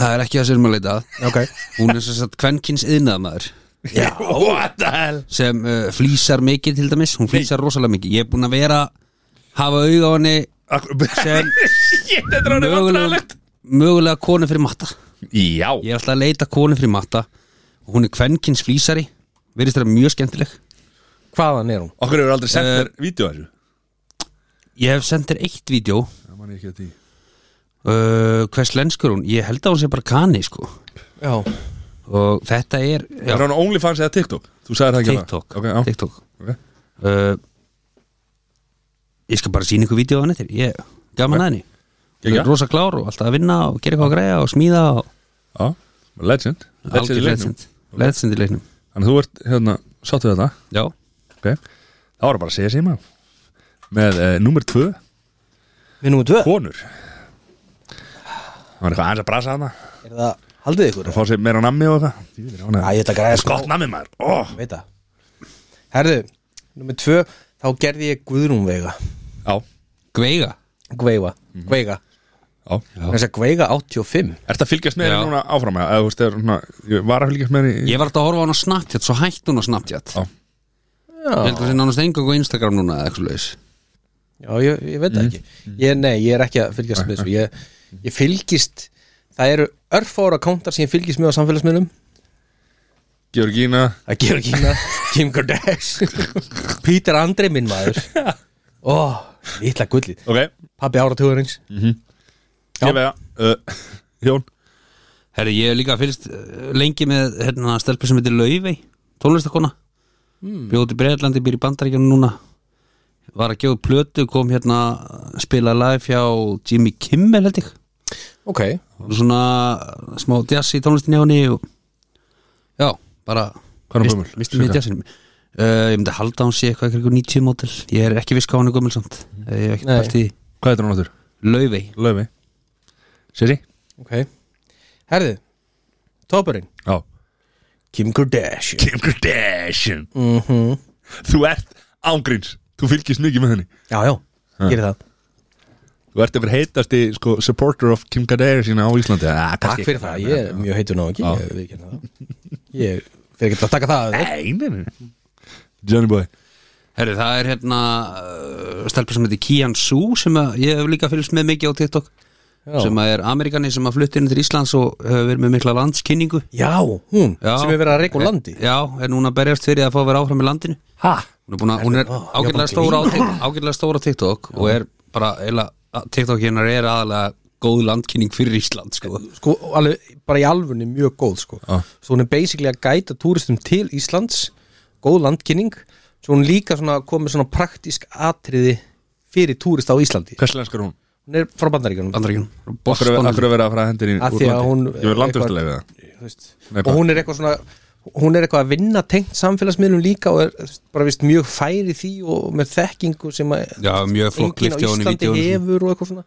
S3: það er ekki það sem er að leita að.
S2: Ok
S3: Hún er sem sagt kvenkins yðnaðamaður
S1: What the hell
S3: sem uh, flýsar mikið til dæmis Hún flýsar rosalega mikið Ég er búin að vera hafa auga á henni sem
S1: Shit, þetta er orðið
S3: mögulega,
S1: vandrarlegt
S3: mögulega konu fyrir matta
S1: Já
S3: Ég er alltaf að leita konu fyrir matta og hún er kvenkins flýsari verðist þetta mjög skemmtileg
S2: Hvaðan er hún?
S1: Okkur hefur aldrei
S3: Eh,
S1: sett þér vídeo af þessu
S3: Ég hef sendt þér eitt vídeo
S1: Það man ég ekki að því
S3: uh, Hvers lenskur hún? Ég held að hún sé bara kani sko
S2: Já
S3: og þetta er já,
S1: Er hann á OnlyFans eða TikTok? Þú sagði það ekki að það.
S3: TikTok,
S1: Ok, já
S3: TikTok.
S1: Ok.
S3: Uh, Ég skal bara sína ykkur vídeo á hann eftir Ég gaf hann að henni Hún
S1: Geggjað.
S3: er Rosa klár og alltaf að vinna og gera eitthvað að græja og smíða og
S1: Já, legend Legend
S3: algjör
S1: í leiknum
S3: legend Legend í leiknum
S1: Þannig að þú ert, hérna, sáttu þetta
S3: Já,
S1: Ok Það var bara að segja síma Með uh, nummer tvö
S2: Við númer tvö
S1: Konur Það var eitthvað aðeins að brasa hana
S2: Er það Haldið ykkur?
S1: Það fá sér meira nammi og eitthvað Dýðir, hún er-
S2: Æ, ég ætla að græða sko
S1: Gott nammi maður oh.
S2: Veit það Herðu Númer tvö Þá gerði ég Guðrúnveiga
S1: Já,
S3: Gveiga
S2: Gveiga Gveiga
S1: já
S2: Þess að Gveiga 85
S1: Ert að fylgjast með
S3: Já.
S1: henni núna áfram eða, eða, þú veist, er, svona, Ég var að fylgjast með henni í-
S3: Ég var alltaf að horfa á hann á Snapchat svo hætt hún á Snapchat
S1: Já.
S3: Ég held að það sé nánast engang á Instagram núna eða eitthvað leis
S2: Já, ég, ég veit það ekki ég, Nei, ég er ekki að fylgjast með þessu ég, ég fylgist Það eru örfára kántar sem ég fylgist með á samfélagsmiðlum
S1: Georgína
S2: að gera kýna hérna. Kim Kardashian Peter Andre minn maður Ó, litla gullið
S1: Ok, ég
S2: Pappi áratugurins
S1: vega uh, Jón
S3: Herri, ég hef líka fylgst eh, lengi með hérna stelpu sem heitir Laufey tónlistakona
S1: Hmm.
S3: mm. bjóti Breitlandi, býr í Bandaríkjunum núna var að gefa plötu, kom hérna að spila live hjá Jimmy Kimmel held ég,
S2: Ok,
S3: og svona eh, smá jazz í tónlistinni á henni og já, bara
S1: Hvað er hún
S3: mist-
S1: gömul?
S3: misti mig í jazzinu Uh, ég myndi halda að hún sé eitthvað eitthvað 90 mótil ég er ekki viss hvað hún er gömul samt
S1: Mhm.
S3: ég hef ekki
S2: Nei.
S3: pælt í
S1: Hvað heitir hún áttur?
S3: Laufey
S1: Laufey Sissi?
S2: ok Herðu, topurinn
S1: Já
S2: Kim Kardashian Mhm.
S1: Kim Kardashian Þú ert ángríns Þú fylgist mikið með henni
S2: Já, já, gerir það
S1: Þú ert yfir heitasti sko, supporter of Kim Kardashian á Íslandi ah,
S2: Takk fyrir það, ég er mjög heitur ná ekki
S1: Já.
S2: Ég viðurkenni það. Ég fyrir ekki að taka það af þér.
S1: Einin Johnny boy
S3: Herri, það er hérna uh, stelpur sem heitir Kian Su sem að, ég hef líka fylgst með mikið á TikTok
S2: Já.
S3: sem að er Amerikani sem að flutti inn til Íslands og hefur verið með mikla landskynningu
S2: Já, hún,
S3: Já.
S2: sem er verið að reyka úr landi
S3: Já, er núna að berjast fyrir að fá að vera áfram í landinu
S2: Ha?
S3: Hún er, búna, hún
S2: Ó,
S3: er
S2: ég er bara
S3: ágætlega
S2: að
S3: stóra á, Tik- ágætlega stóra á TikTok og er bara, eila, TikTok hérna er aðalega góð landkynning fyrir Ísland sko.
S2: Sko, alveg, bara í alfunni mjög góð sko.
S1: Já.
S2: Svo hún er basically að gæta túristum til Íslands Góð landkynning Svo hún er líka svona, komið svona praktísk atriði Fyrir túrist á Íslandi
S1: Hvers lenskar hún?
S2: Hún er frá Bandaríkjunum
S3: Bandaríkjum
S1: Akkur
S3: Boston
S1: að vera að fara að hendur í
S2: Af því að hún-
S1: Ég verð landvöftilega við það
S2: þú veist.
S1: Nei,
S2: Og
S1: bara-
S2: hún er eitthvað svona Hún er eitthvað að vinna tengt samfélagsmiðlum líka Og er þú veist, bara vist mjög færi í því Og með þekkingu sem að
S3: Já, mjög flott
S2: Engin á
S3: lyfti á henni í
S2: Íslandi
S3: vídeóinu
S2: hefur og eitthvað svona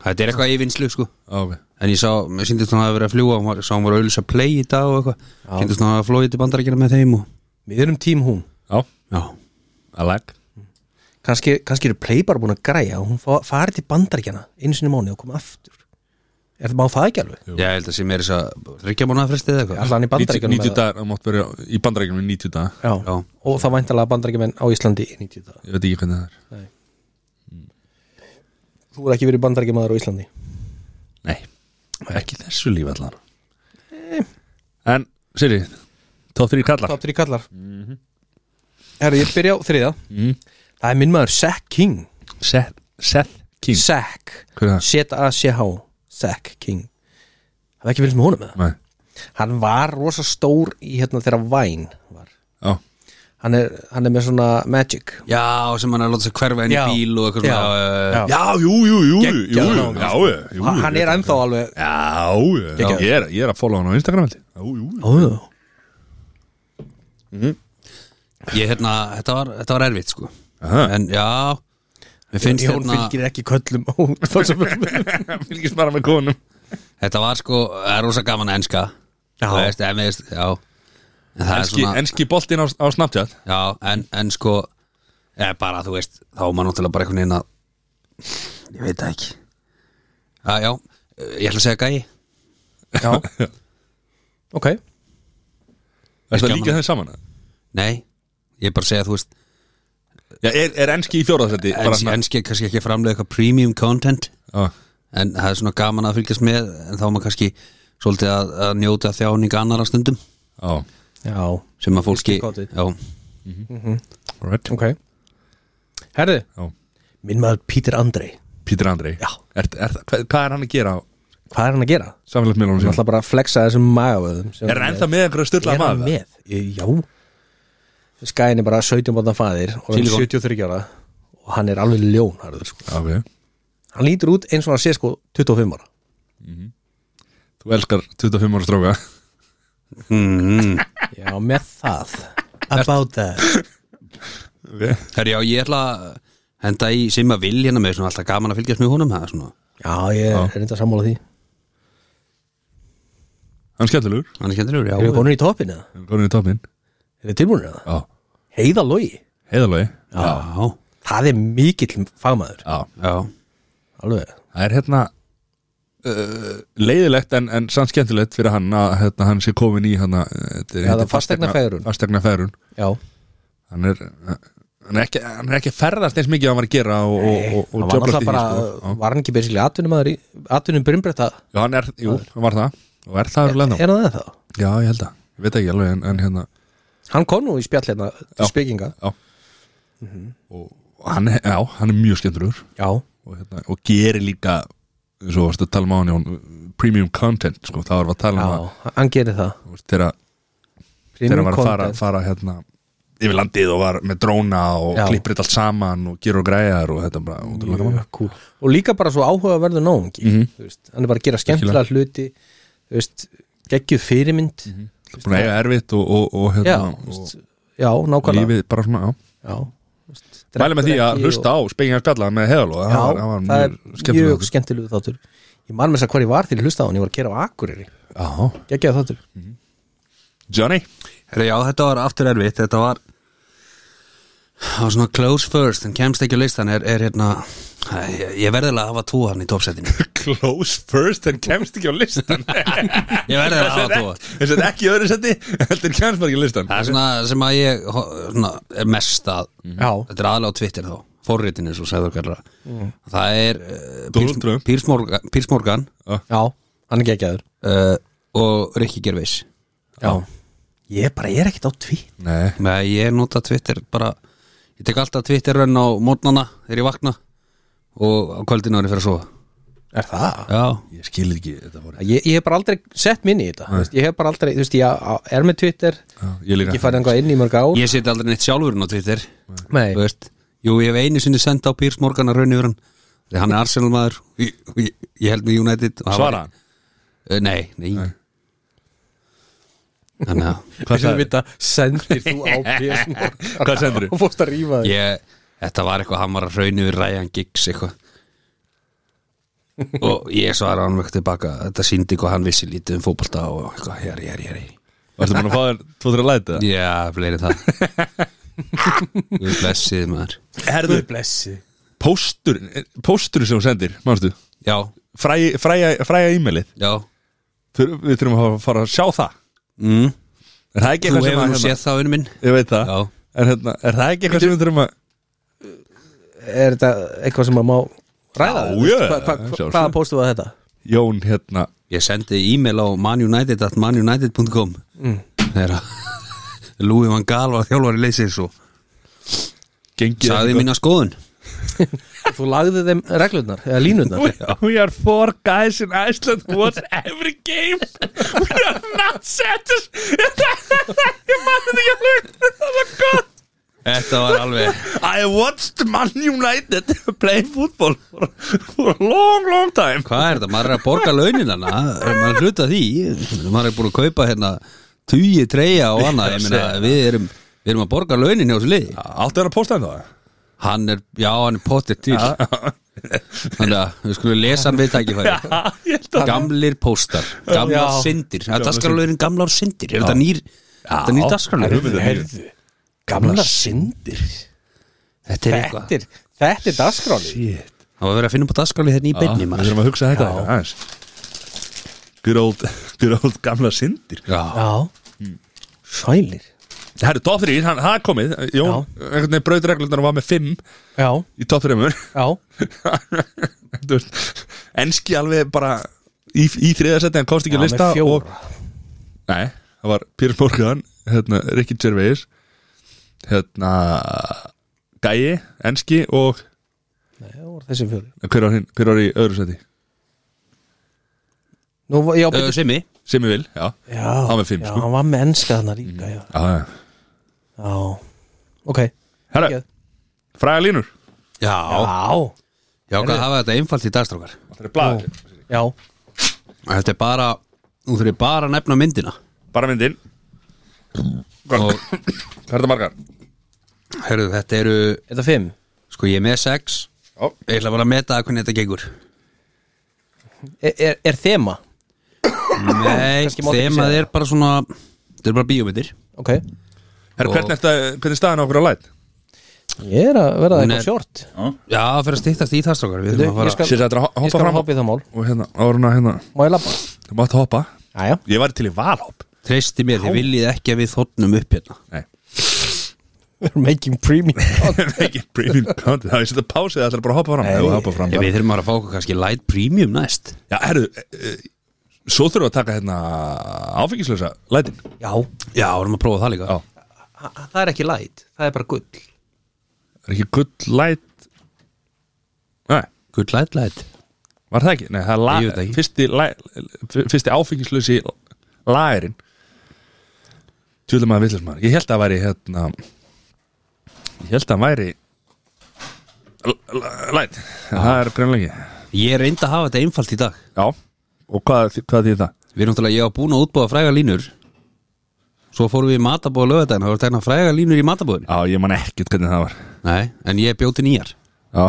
S3: Þetta er eitthvað yfinnslu sko
S1: Á, ok.
S3: En ég sá, mér síndist hún að vera að fljúa hún var, sá hún var að auðvitað play í dag og eitthvað síndist hún að flóið til bandarækina með þeim og
S2: Við erum tím hún
S1: Já,
S3: já,
S1: I like
S2: Kannski, kannski eru play bara búin að græja og Hún fa- fari til Bandaríkjana einu sinni í mánu og koma aftur Er það má það ekki alveg?
S3: ég held að sé mér þess að þryggja mánuða frestið eða eitthvað
S2: allan í
S1: 90
S2: bandaríkjunum
S1: 90 dagar, það mátt vera í bandaríkjunum í 90 dagar
S2: Já.
S3: Já.
S2: og þá væntalega bandaríkjumenn á Íslandi í 90 daga
S1: Ég veit ekki hvernig það er
S2: þú er ekki verið bandaríkjumæður á Íslandi
S1: Nei, ekki þessu lífi allan En, Siri Tóð þrý kallar
S2: top 3 kallar herru ég byrja á þriða það er minn maður Zack King
S1: Seth, Seth King
S2: Zack
S1: Hver er það?
S2: Z-A-C-H Zack King það er ekki fylgst með honum með
S1: Nei,
S2: hann var rosa stór í hérna þegar Vine var
S1: já
S2: hann er, hann er með svona magic
S3: já, sem hann er að láta sig hverfa inn í
S2: Já.
S3: bíl og eitthvað
S2: Já.
S3: svona, eh,
S2: Já.
S1: Já, jú, jú, jú, jú, jú,
S2: Geggjaður
S1: jú,
S2: náungi,
S1: já,
S2: sko.
S1: jú, jú
S2: hann er ennþá alveg
S1: Já, já,
S2: Geggjaður.
S1: ég er, ég er að follow hann á Instagram held ég. Jú, jú, jú
S2: oh.
S3: ég hérna, þetta var, þetta var erfitt sko
S1: Aha.
S3: en já, mér finnst
S2: Jón
S3: hérna
S2: fylgir ekki köllum á samfélagsmiðlum.
S1: Fylgist bara með konum
S3: þetta var sko, það er rosa gaman að enska
S2: Já.
S3: Þú veist, en, veist, já en það er
S1: Enski,
S3: svona,
S1: enski boltinn á, á Snapchat
S3: já, en, en sko eða bara, þú veist, þá er maður náttúrulega bara einhvern veginn að ég veit það ekki já, já, eh, ég ætla að segja gæi
S2: Já Ok
S1: Er það
S3: Gaman.
S1: líka þeim saman? eða?
S3: Nei, ég er bara að segja, þú veist
S1: Já, er, er enski í fjóraðsætti?
S3: ens, Enski er kannski ekki að framlega eitthvað premium content
S1: Já,
S3: En það er svona gaman að fylgjast með En þá er maður kannski svolítið að, að njóta þjáning annara stundum
S1: já,
S2: Já
S3: Sem að fólki
S2: Skil content.
S3: já,
S1: alright
S2: Ok Herði
S1: Já.
S2: Minn maður Pítur Andrei
S1: Pítur Andrei
S2: Já.
S1: er, er, hvað, hvað er hann að gera á
S2: Hvað er hann að gera?
S1: samfélagsmiðlunum
S2: Hann er
S1: sínum?
S2: alltaf bara að flexa þessum magavöðum sem
S1: Er
S2: hann
S1: hann ennþá með einhverja
S2: Er
S1: styrlað
S2: hann
S1: maður?
S2: með? Í- Já Skæin er bara 17 bóðan fæðir og hann er
S3: Silikon.
S2: 73 ára og hann er alveg ljón harður, sko.
S1: Ok,
S2: Hann lítur út eins og hann sé sko 25 ára
S1: þú elskar 25 ára stróka
S3: Mhm.
S2: Já, með það About that
S3: Herri, já, ég ætla að henda í Simma Vil hérna með svona alltaf gaman að fylgjast með honum Það er svona,
S2: Já, ég
S1: Já.
S2: er reynda að sammála því
S1: Hann er skemmtilegur,
S3: hann er skemmtilegur, já
S2: Erum við konin í toppin eða?
S1: hann er komin í toppin
S2: Erum við tilbúinir eða?
S1: Já,
S2: Heiða logi
S1: heiðalagi
S3: Já,
S2: Það er mikill fagmaður
S1: Já,
S3: já,
S2: Alveg
S1: það er hérna uh, leiðilegt en, en sann skemmtilegt fyrir hann að hérna, hann sé komin í uh, hann
S2: Já, það er fasteignafegrun.
S1: Fastegnafærun
S2: Já
S1: Hann er, uh, hann er, ekki, hann er ekki að ferðast eins mikið að hann var að gera og, og, og,
S2: Hann
S1: og
S2: var
S1: djöflast í
S2: náttúrulega bara
S1: því, sko.
S2: Var hann ekki byrjulega atvinnumæður í Atvinnum brinnbretta
S1: Já, hann er, jú, hann var það og er það
S2: Er hann
S1: alveg ennþá
S2: það þá?
S1: Já, ég held að, ég veit ekki alveg en, en hérna
S2: Hann kom nú í spjall hérna
S1: Já.
S2: til spekinga Mhm.
S1: og hann, er- já, hann er mjög skemmtilegur
S2: Já
S1: og, hérna, og gerir líka svo varstu að tala um á hann premium content, sko, það var að tala um
S2: Já, hann gerir það
S1: að þú veist, þegar þegar hann var að fara, fara hérna yfir landið og var með dróna og
S2: Já.
S1: klippir þetta allt saman og gerur og græjar og þetta bara ótrúlega gaman.
S2: Já, cool. og líka bara svo áhugaverður náungi
S1: Mhm.
S2: mm veist, hann er bara að gera skemmtilega hluti þú veist, geggjuð fyrirmynd
S1: búin að eiga erfitt og, og, Mhm. og,
S2: já,
S1: hérna,
S2: þú veist,
S1: og
S2: já, nákvæmlega
S1: lífið bara svona já.
S2: já, þú veist,
S1: mæli með því
S2: drekkur
S1: að
S2: ekki
S1: hlusta á spekingar spjalla með heðalóð,
S2: já,
S1: það var, það var
S2: það er
S1: mjög
S2: mjög
S1: skemmtilega
S2: skemmtilegu þáttur ég man með þess að hvað ég var til að hlusta á hann ég var að kera á Akureyri,
S1: já,
S2: geggjuð þáttur
S1: Johnny
S3: Herri, já, þetta var aftur erfitt Þetta var Það var svona close first En kemst ekki á listan er, er hérna Æ, Ég, ég verðilega að hafa tvo hann í topsetinu
S1: close first en kemst ekki á listan
S3: Ég verðilega að hafa tvo
S1: þess að ekki í öðru seti heldur kemst bara ekki á listan
S3: Það er svona sem að ég ho- svona, er mest að
S2: já,
S3: Þetta er aðlega á Twitter þá Forritinu, svo segður kallar mm. Það er
S1: Donald Trump.
S3: uh, Pírs Morgan
S2: já, hann er geggjaður
S3: uh, Og Rikki Gervais
S2: já, ég bara ég er ekkert á tví
S1: nei,
S3: Nei, ég nota Twitter bara Ég tek alltaf Twitter rönn á mótnana Þegar ég vakna Og á kvöldinu ári fyrir að sofa
S2: er það?
S3: Já,
S1: ég skil ekki þetta voru
S2: Ég, ég hef bara aldrei sett minni í þetta þú veist, ég hef bara aldrei, þú veist, ég á- er með Twitter
S1: já, ég
S2: ég
S1: líka
S2: farið einhvað inn í mörg ár
S3: ég seti aldrei neitt sjálfurinn á Twitter
S2: Nei.
S3: Þú veist, Jú, ég hef einu sinni senda á Pírs Morgan að raun yfir hann Þegar hann er Arsenal maður og ég, og ég, ég held með United og hann var-
S1: svara hann
S3: Eh, Nei, nei, Þannig að
S1: Hvað
S2: Hvað
S1: sagði?
S2: sagði? Vita, sendir þú á PS Morgan
S1: Hvað sendirðu?
S2: Og fórst að rífa þig
S3: ég, Þetta var eitthvað, hann var að raun yfir Ryan Giggs eitthvað Og ég svara hann vekk tilbaka Þetta síndi hvað hann vissi lítið um fótbolta og eitthvað, hér, hér, hér
S1: varstu búin að fá þér tvo-þrjá læti það?
S3: Já, fleiri en það Við blessið maður
S1: herðu,
S2: blessi
S1: póstur póstur sem hún sendir, mannstu
S3: Já,
S1: fræja, fræja, fræja e-mailið
S3: já
S1: Þur, við þurfum að fara að sjá það
S3: mm.
S1: er það ekki
S3: Þú
S1: eitthvað sem að
S3: hefur
S1: hérna-
S3: nú séð það, unni minn
S1: ég veit það
S3: Já.
S1: er, hérna, er það ekki eitthvað sem við þurfum að
S2: Er þetta eitthvað sem maður má ræða?
S1: Já,
S2: Þú veist,
S1: já,
S2: hva, hva, hva,
S1: sjálfsögðu.
S2: Hvaða póstu var þetta?
S1: Jón hérna
S3: Ég sendi e-mail á manunited at manunited.com Þegar að Lúi Van Gaal var þjálfari leysins og
S1: gengið hérna
S3: sagði mína skoðun
S2: Þú lagði þeim reglurnar, eða línurnar
S1: We are four guys in Iceland watch every game We are not satis Ég mann þetta ekki alveg Það var gott
S3: Þetta var alveg
S1: I watched Man United play football for, for a long, long time
S3: Hvað er þetta? Maður er að borga launin hana er maður að hluta því maður er búin að kaupa hérna tugi, treyja og annað Ég meina, við erum, við erum að borga launin hjá þessu lið
S1: Áttu er að posta um þetta
S3: Hann er, já, hann er pottir til Þannig að við skulum lesa hann við tækifæri
S1: Ég held að
S3: Gamlir póstar, gamlar
S2: Já.
S3: syndir Daskarlöðin gamlar syndir Er þetta nýr, þetta nýr daskarlöðin?
S2: Herðu, gamla syndir
S3: Þetta er eitthvað
S2: Þetta er, þetta er dagskráli
S3: Það var verið að finna upp á dagskráli hérna í beinni
S1: Við þurfum að hugsa þetta
S2: Já.
S1: aðeins Good old, good old gamla syndir
S3: Já,
S2: Já
S1: Hmm.
S2: Sælir
S1: Herru, top 3, hann, það er komið Jón, einhvern veginn braut reglundar og var með 5
S2: Já,
S1: í top 3
S2: já
S1: Þú veist, Enski alveg bara í, í þriðasetti, hann komst ekki
S2: Já,
S1: að
S2: með
S1: lista og,
S2: fjóra
S1: Nei, það var Pírs Morgan hérna, Ricky Gervais hérna Gæi, Enski og
S2: Nei, það voru þessi fjóri
S1: hver var, hinn, hver var í öðru seti?
S2: Nú, var- já,
S3: Ö,
S2: byrju-
S3: Simmi
S1: Simmi Vil, já,
S2: já,
S1: Eh, hann var fimm,
S2: já,
S1: sko. Hmm.
S2: hann var með ennska þarna líka já.
S1: já, já.
S2: já, ok
S1: Herra,
S2: Geð.
S1: fræga línur
S3: Já,
S2: Já,
S3: já, hvað hafa þetta einfalt í dagstrákar
S1: Það er blað
S2: já,
S3: Þetta er bara, nú þurfið bara að nefna myndina
S1: Bara myndin Hvað
S3: Og,
S1: hvað er það margar?
S3: herru, þetta eru
S2: þetta fimm
S3: Sko, ég er með sex
S1: Já.
S3: Ég ætla bara að meta hvernig þetta gengur
S2: Er, er, er þema?
S3: Nei,
S2: Kannski má þetta ekki
S3: þemað
S2: segja
S3: er bara svona Þetta er bara bíómyndir
S2: Ok,
S1: Herra,
S3: Og-
S1: hvernig, ertu að- hvernig er staðan á okkur á læt?
S2: ég er að verða
S3: Hún
S2: eitthvað
S3: er-
S2: short
S3: Já, það fyrir að stýttast í það strákar Við
S2: Ég
S3: þurfum að fara
S2: skal,
S1: Sér þetta er að
S2: ég
S1: hoppa
S2: skal
S1: fram
S2: hoppa í það mál
S1: Og hérna, áruna hérna
S2: Má ég labba?
S1: Þú mátt hoppa
S2: Jæja,
S1: Ég var til í valhopp
S3: Treysti mér, þið viljið ekki að við þotnum upp hérna
S1: Nei
S2: we're making premium
S1: Ekki premium content Það er sér að pásið Það ætlar bara að hoppa fram
S2: Nei.
S1: Ef þú hoppa fram
S3: Já, við þurfum bara að fá okkur kannski light premium næst
S1: Já, herru e, e, Svo þurfum við að taka hérna Áfengislösa lætin
S2: Já,
S3: Já, vorum að prófa það líka
S1: Já.
S2: ha- það er ekki light, það er bara gull
S1: Er ekki gull læt Nei,
S3: Good light light
S1: var það ekki? Nei, það er la,
S3: Ég veit það ekki.
S1: fyrsti, la, fyrsti áfengislösi Lærin Tjóðlega maður villis maður Ég held að það væri hérna Ég held að það væri l- l- Læt Það er greinlegi
S3: Ég reyndi að hafa þetta einfalt í dag
S1: Já Og hvað, hvað þýðir það?
S3: Við erum náttúrulega, ég á búin að útbúa fræga línur Svo fórum við í matabóð lögadaginn Það voru tegna fræga línur í matabóðinu
S1: Já, ég man ekkert hvernig það var
S3: Nei, en ég bjóti nýjar
S1: Já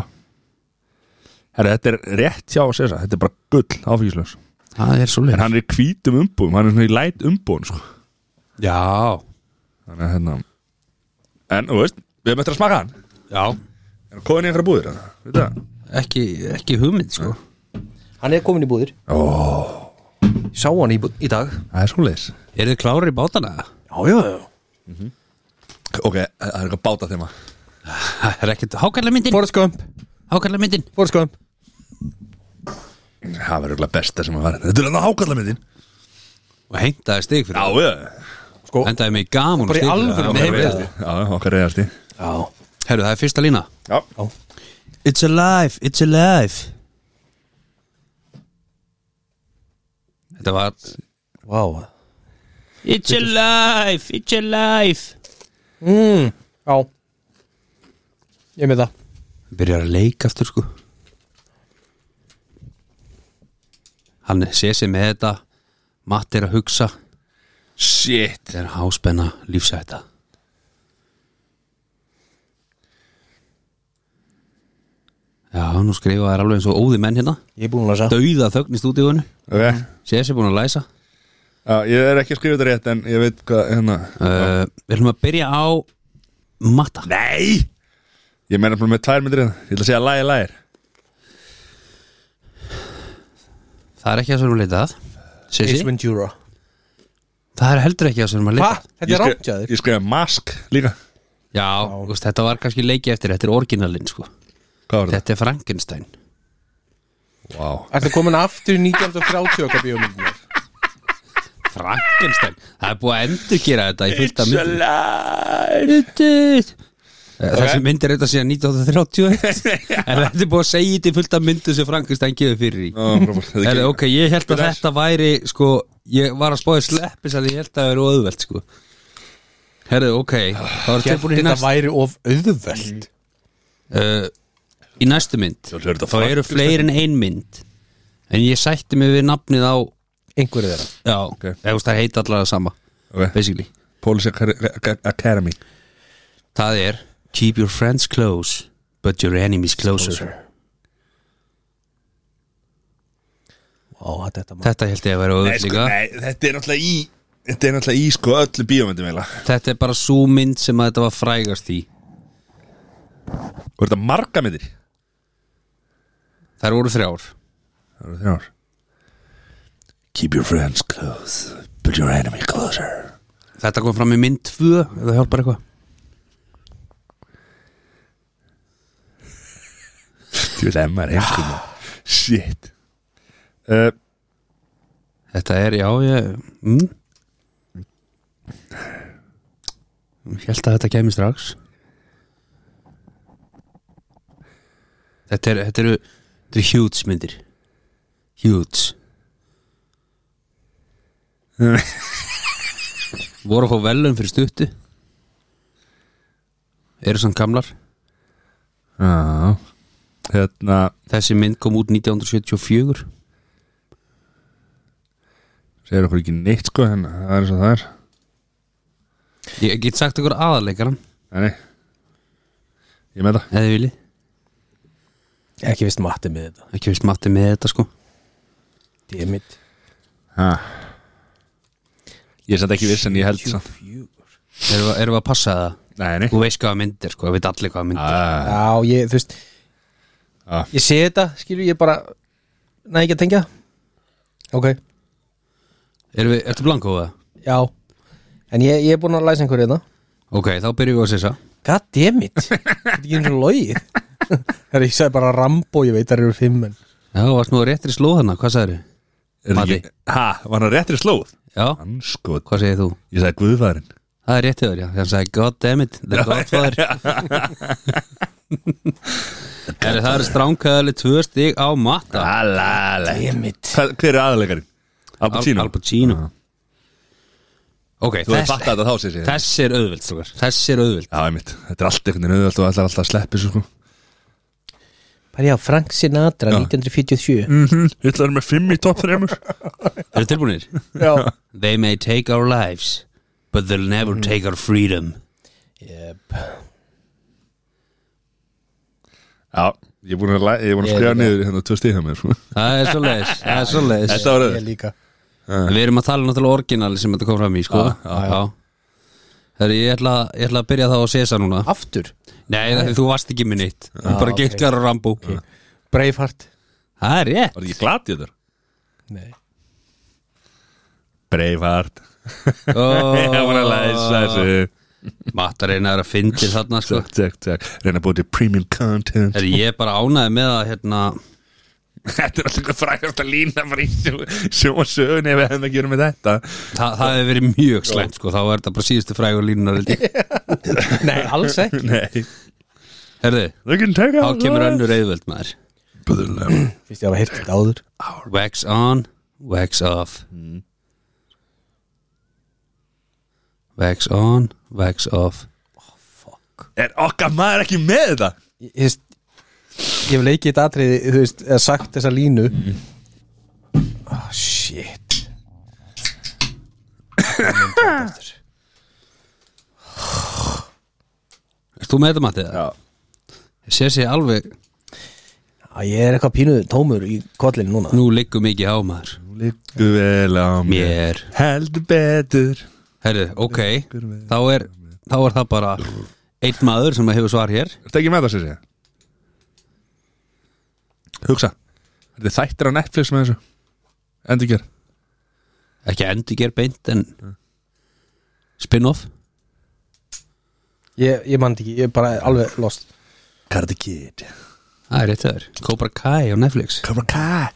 S1: Herra, þetta er rétt hjá að segja Þetta er bara gull áfengislaus
S3: Það er svo
S1: En hann er í hvítum umbúðum, hann er svona í læt umbúðum sko.
S3: Já,
S1: Þannig að hérna En, þú veist, við erum eftir að smaka hann
S3: já,
S1: En kóðin í einhverja búðir, hérna, veit það
S3: ekki, ekki hugmynd sko
S2: Hann er komin í búðir oh. Sá hann í, bú- í dag
S1: Það er svoleiðis
S3: Er þið klárir í bátana?
S2: Já, já, já
S1: Ok, það er eitthvað báta þeim að
S3: Það er ekkert, hákallar myndin,
S2: Forrest Gump,
S3: hákallar myndin
S2: Forrest Gump
S1: Það verður eitthvað besta sem að vera Þetta er hann að hákalla með þín
S3: Og hengtaði stig fyrir
S1: Já, já,
S3: það Hendaði mig í gaman
S2: Bara í alvöru,
S1: okkar
S2: Nei,
S1: reyðasti Já, okkar reyðasti
S2: Já,
S3: Herru, það er fyrsta lína
S1: Já,
S3: It's alive, it's alive Þetta var
S2: vá
S5: It's alive, it's alive
S2: mm. Já Ég er með það
S3: Byrjar að leika aftur sko Hann sé sér með þetta Matt er að hugsa Þetta
S1: shit
S3: er háspenna lífsæta Já, nú skrifa þær alveg eins og óði menn hérna
S2: Ég er búin að lasa
S3: Dauða þögn í stúdíunum
S1: Ok,
S3: Sé sér búin að læsa
S1: já, ég er ekki að skrifa þetta rétt En ég veit hvað, hérna
S3: uh, Við ætlum að byrja á Matta
S1: Nei Ég meina bara með tvær myndir hérna. Ég ætla að segja lægir, lægir
S3: Það er ekki að sem við leitað
S2: Ace
S3: Sissi,
S2: Ventura
S3: það er heldur ekki að sem við
S2: Hva?
S3: leitað
S2: Þetta
S1: Ég
S2: er
S1: skri-
S2: rámtjaður
S1: Ég skrifa mask líka
S3: Já, þú veist, þetta var kannski leiki eftir Þetta er orginalinn, sko
S1: Hvað var þetta?
S3: Þetta er Frankenstein
S1: Vá wow.
S2: Ertu komin aftur í 1930 okkar bíómyndunar
S3: Frankenstein, það er búið að endurgera þetta í fullt af myndum
S1: alive
S3: Þessi mynd er þetta síðan 1931 En þetta er búið að segja þetta í fullt af myndum sem Frankenstein gefur fyrir í Heri, Ok, ég held að
S1: Þetta er-
S3: þetta væri sko, Ég var að spáði sleppis en ég held að það væri óðvelt sko. Herðu, ok Það var tilbúin í
S2: Þetta
S3: næst
S2: væri of auðveld
S3: uh, Í næstu mynd
S1: Þetta er þetta
S3: Þá eru fleiri en ein mynd En ég sætti mig við nafnið á
S2: Einhverju þeirra
S3: Já, okay. það heita allar að sama
S1: okay.
S3: Basically
S1: Police Ac- Ac- Academy
S3: Það er Keep your friends close But your enemies closer
S2: Vá, þetta maður
S3: Þetta held ég að vera
S1: nei,
S3: auðvitað
S1: sko,
S3: líka
S1: nei, þetta er náttúrulega í Þetta er náttúrulega í sko öllu bíómyndum eða
S3: Þetta er bara svo mynd sem að þetta var frægast í
S1: Hvað er þetta marga myndir?
S3: Þær voru þrjár
S1: Það eru þrjár Keep your friends close But your enemy closer
S3: Þetta kom fram í mynd 2 ef það hjálpar eitthvað
S1: Þú vil emma er heimskum Ah, Shit uh,
S3: Þetta er, já, ég mm. Hjælt að þetta kemur strax Þetta er, þetta eru Þetta eru huge myndir Huge Voru að fá velum fyrir stuttu Eru samt gamlar
S1: Já Hérna
S3: Þessi mynd kom út 1974
S1: Segir okkur ekki neitt sko hérna Það er eins og það er
S3: Ég get sagt ykkur aðarleikaran
S1: Nei Ég með það
S3: Eða vilji
S2: Ekki vist mati með þetta
S3: Ekki veist matti með þetta sko
S2: Demmit
S1: ha. Ég er satt ekki viss en ég held samt
S3: Erum við, erum við að passa það?
S1: Nei, nei
S3: Þú veist hvaða myndir sko, við veit allir hvaða myndir
S1: ah,
S2: Já, ég, þú veist
S1: Ah.
S2: Ég sé þetta, skilur ég bara Nei, ekki að tengja Ok,
S3: Erum við, ertu blank á það?
S2: já En ég, ég er búin að læsa hérna. einhverju þetta
S3: Ok, þá byrjum við að sessa
S2: God damn it Þetta er ekki eins og logið Það er ég sagði bara Rambo, ég veit það eru fimm en
S3: Já, varst nú á réttri slóð hana, hvað sagðir þið?
S1: Er það ekki- Ha, var hann réttri slóð?
S3: Já,
S1: Hann sko
S3: hvað segir þú?
S1: Ég sagði Guðfæðurinn
S3: Það er réttið þar, já, þannig sagði God damn it, the godfather Herri, það er stránkaðali tvö stig á matta
S1: Alala
S2: Damn it
S1: Hva- Hver er aðalegarinn? Al Pacino
S3: Al Pacino
S1: Já.
S3: Ok,
S1: Þú hefði
S3: þess,
S1: fattað þetta þá sér sér
S3: þess er auðvöld strókar. Þess er auðvöld
S1: Já, einmitt Þetta er allt einhvern veginn auðvöld og allar alltaf að sleppi svo sko
S2: Bara já, Mm. Frank Sinatra,
S1: Já.
S2: 1947
S1: Þetta er með fimm í topp þreymur
S3: Eru tilbúinir?
S2: Já
S3: They may take our lives But they'll never take our freedom
S2: yep.
S1: Já, ég er búin að, læ- ég er búin að
S2: Ég
S1: skrifa
S2: líka.
S1: niður hérna tvö stíð hjá mér sko
S3: Það er svo leis, það er svo leis
S1: Þetta var
S2: Ég
S1: auðvöld
S2: líka
S3: Við erum að tala náttúrulega orginali sem þetta kom fram í sko.
S1: Já,
S3: já, Þegar ég ætla, ég ætla að byrja þá að sesa núna
S2: Aftur
S3: Nei, það, þú varst ekki minn eitt Þú bara
S2: ok.
S3: okay. gilkar og rambú
S2: Braveheart
S3: Það er rétt
S1: Var ekki glatið þér?
S2: Nei
S1: Breifart Ég er búin að læsa
S3: oh,
S1: þessu
S3: Matta reynaður að fyndi þarna sko.
S1: Takk, takk, takk Reyna að búið til premium content
S3: Þegar ég er bara ánæði með að hérna,
S1: Þetta er alltaf einhver frægast að lína bara í sjómasögun ef við hefum ekki verið með þetta
S3: það, það hefur verið mjög slæmt sko. þá er þetta bara síðustu frægur línunar held ég.
S2: Nei, alls ekki
S1: Nei
S3: Herðu,
S1: They can take
S3: þá
S1: out
S3: kemur önnur reyðvöld maður
S1: Böðulega
S2: Fyrst ég hafa heyrt þetta áður
S3: Wax on, wax off
S1: Mm.
S3: Wax on, wax off
S1: Er okkar maður ekki með þetta?
S2: Ég, þú veist, ég hef leikið þetta atriði þú veist, eða sagt þessa línu oh Mm. shit
S3: Erst þú með þetta Matti?
S1: Já
S3: Ég sé sér alveg,
S2: að ég er eitthvað pínuð tómur í kollinu núna
S3: nú liggur mikið á maður
S1: Nú liggur vel á mér
S3: Mér
S1: Heldur betur
S3: Herðu, ok, þá er, þá er það bara einn maður sem hefur svar hér
S1: Ertu ekki með það sér sér? Hugsa Þetta er þættir á Netflix með þessu Endurger
S3: Ekki endur ger beint en spin-off
S2: ég, ég mann ekki, ég er bara alveg lost
S1: Karate Kid
S3: Það er rétt það er, Cobra Kai á Netflix
S1: Cobra Kai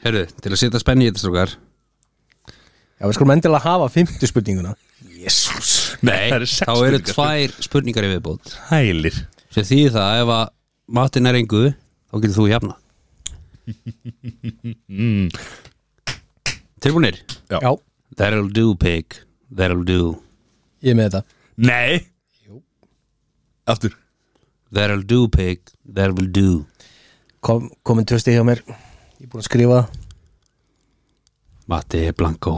S3: Herðu, til að setja spenni í þetta strókar
S2: já við skulum endilega hafa fymtu spurninguna jésús
S1: Nei, það eru sex
S3: Þá eru
S1: spurningar.
S3: tvær spurningar í viðbót
S1: Hælir
S3: sem þýðir það ef að matin er engu þá getur þú jafna Tilbúinir
S1: Já.
S2: já,
S3: That'll do pig, that'll do
S2: ég er með þetta
S1: Nei Jú Aftur
S3: That'll do pig, that'll do
S2: Kom, komin tvö stig hjá mér ég er búin að skrifa það.
S3: Matti er blanko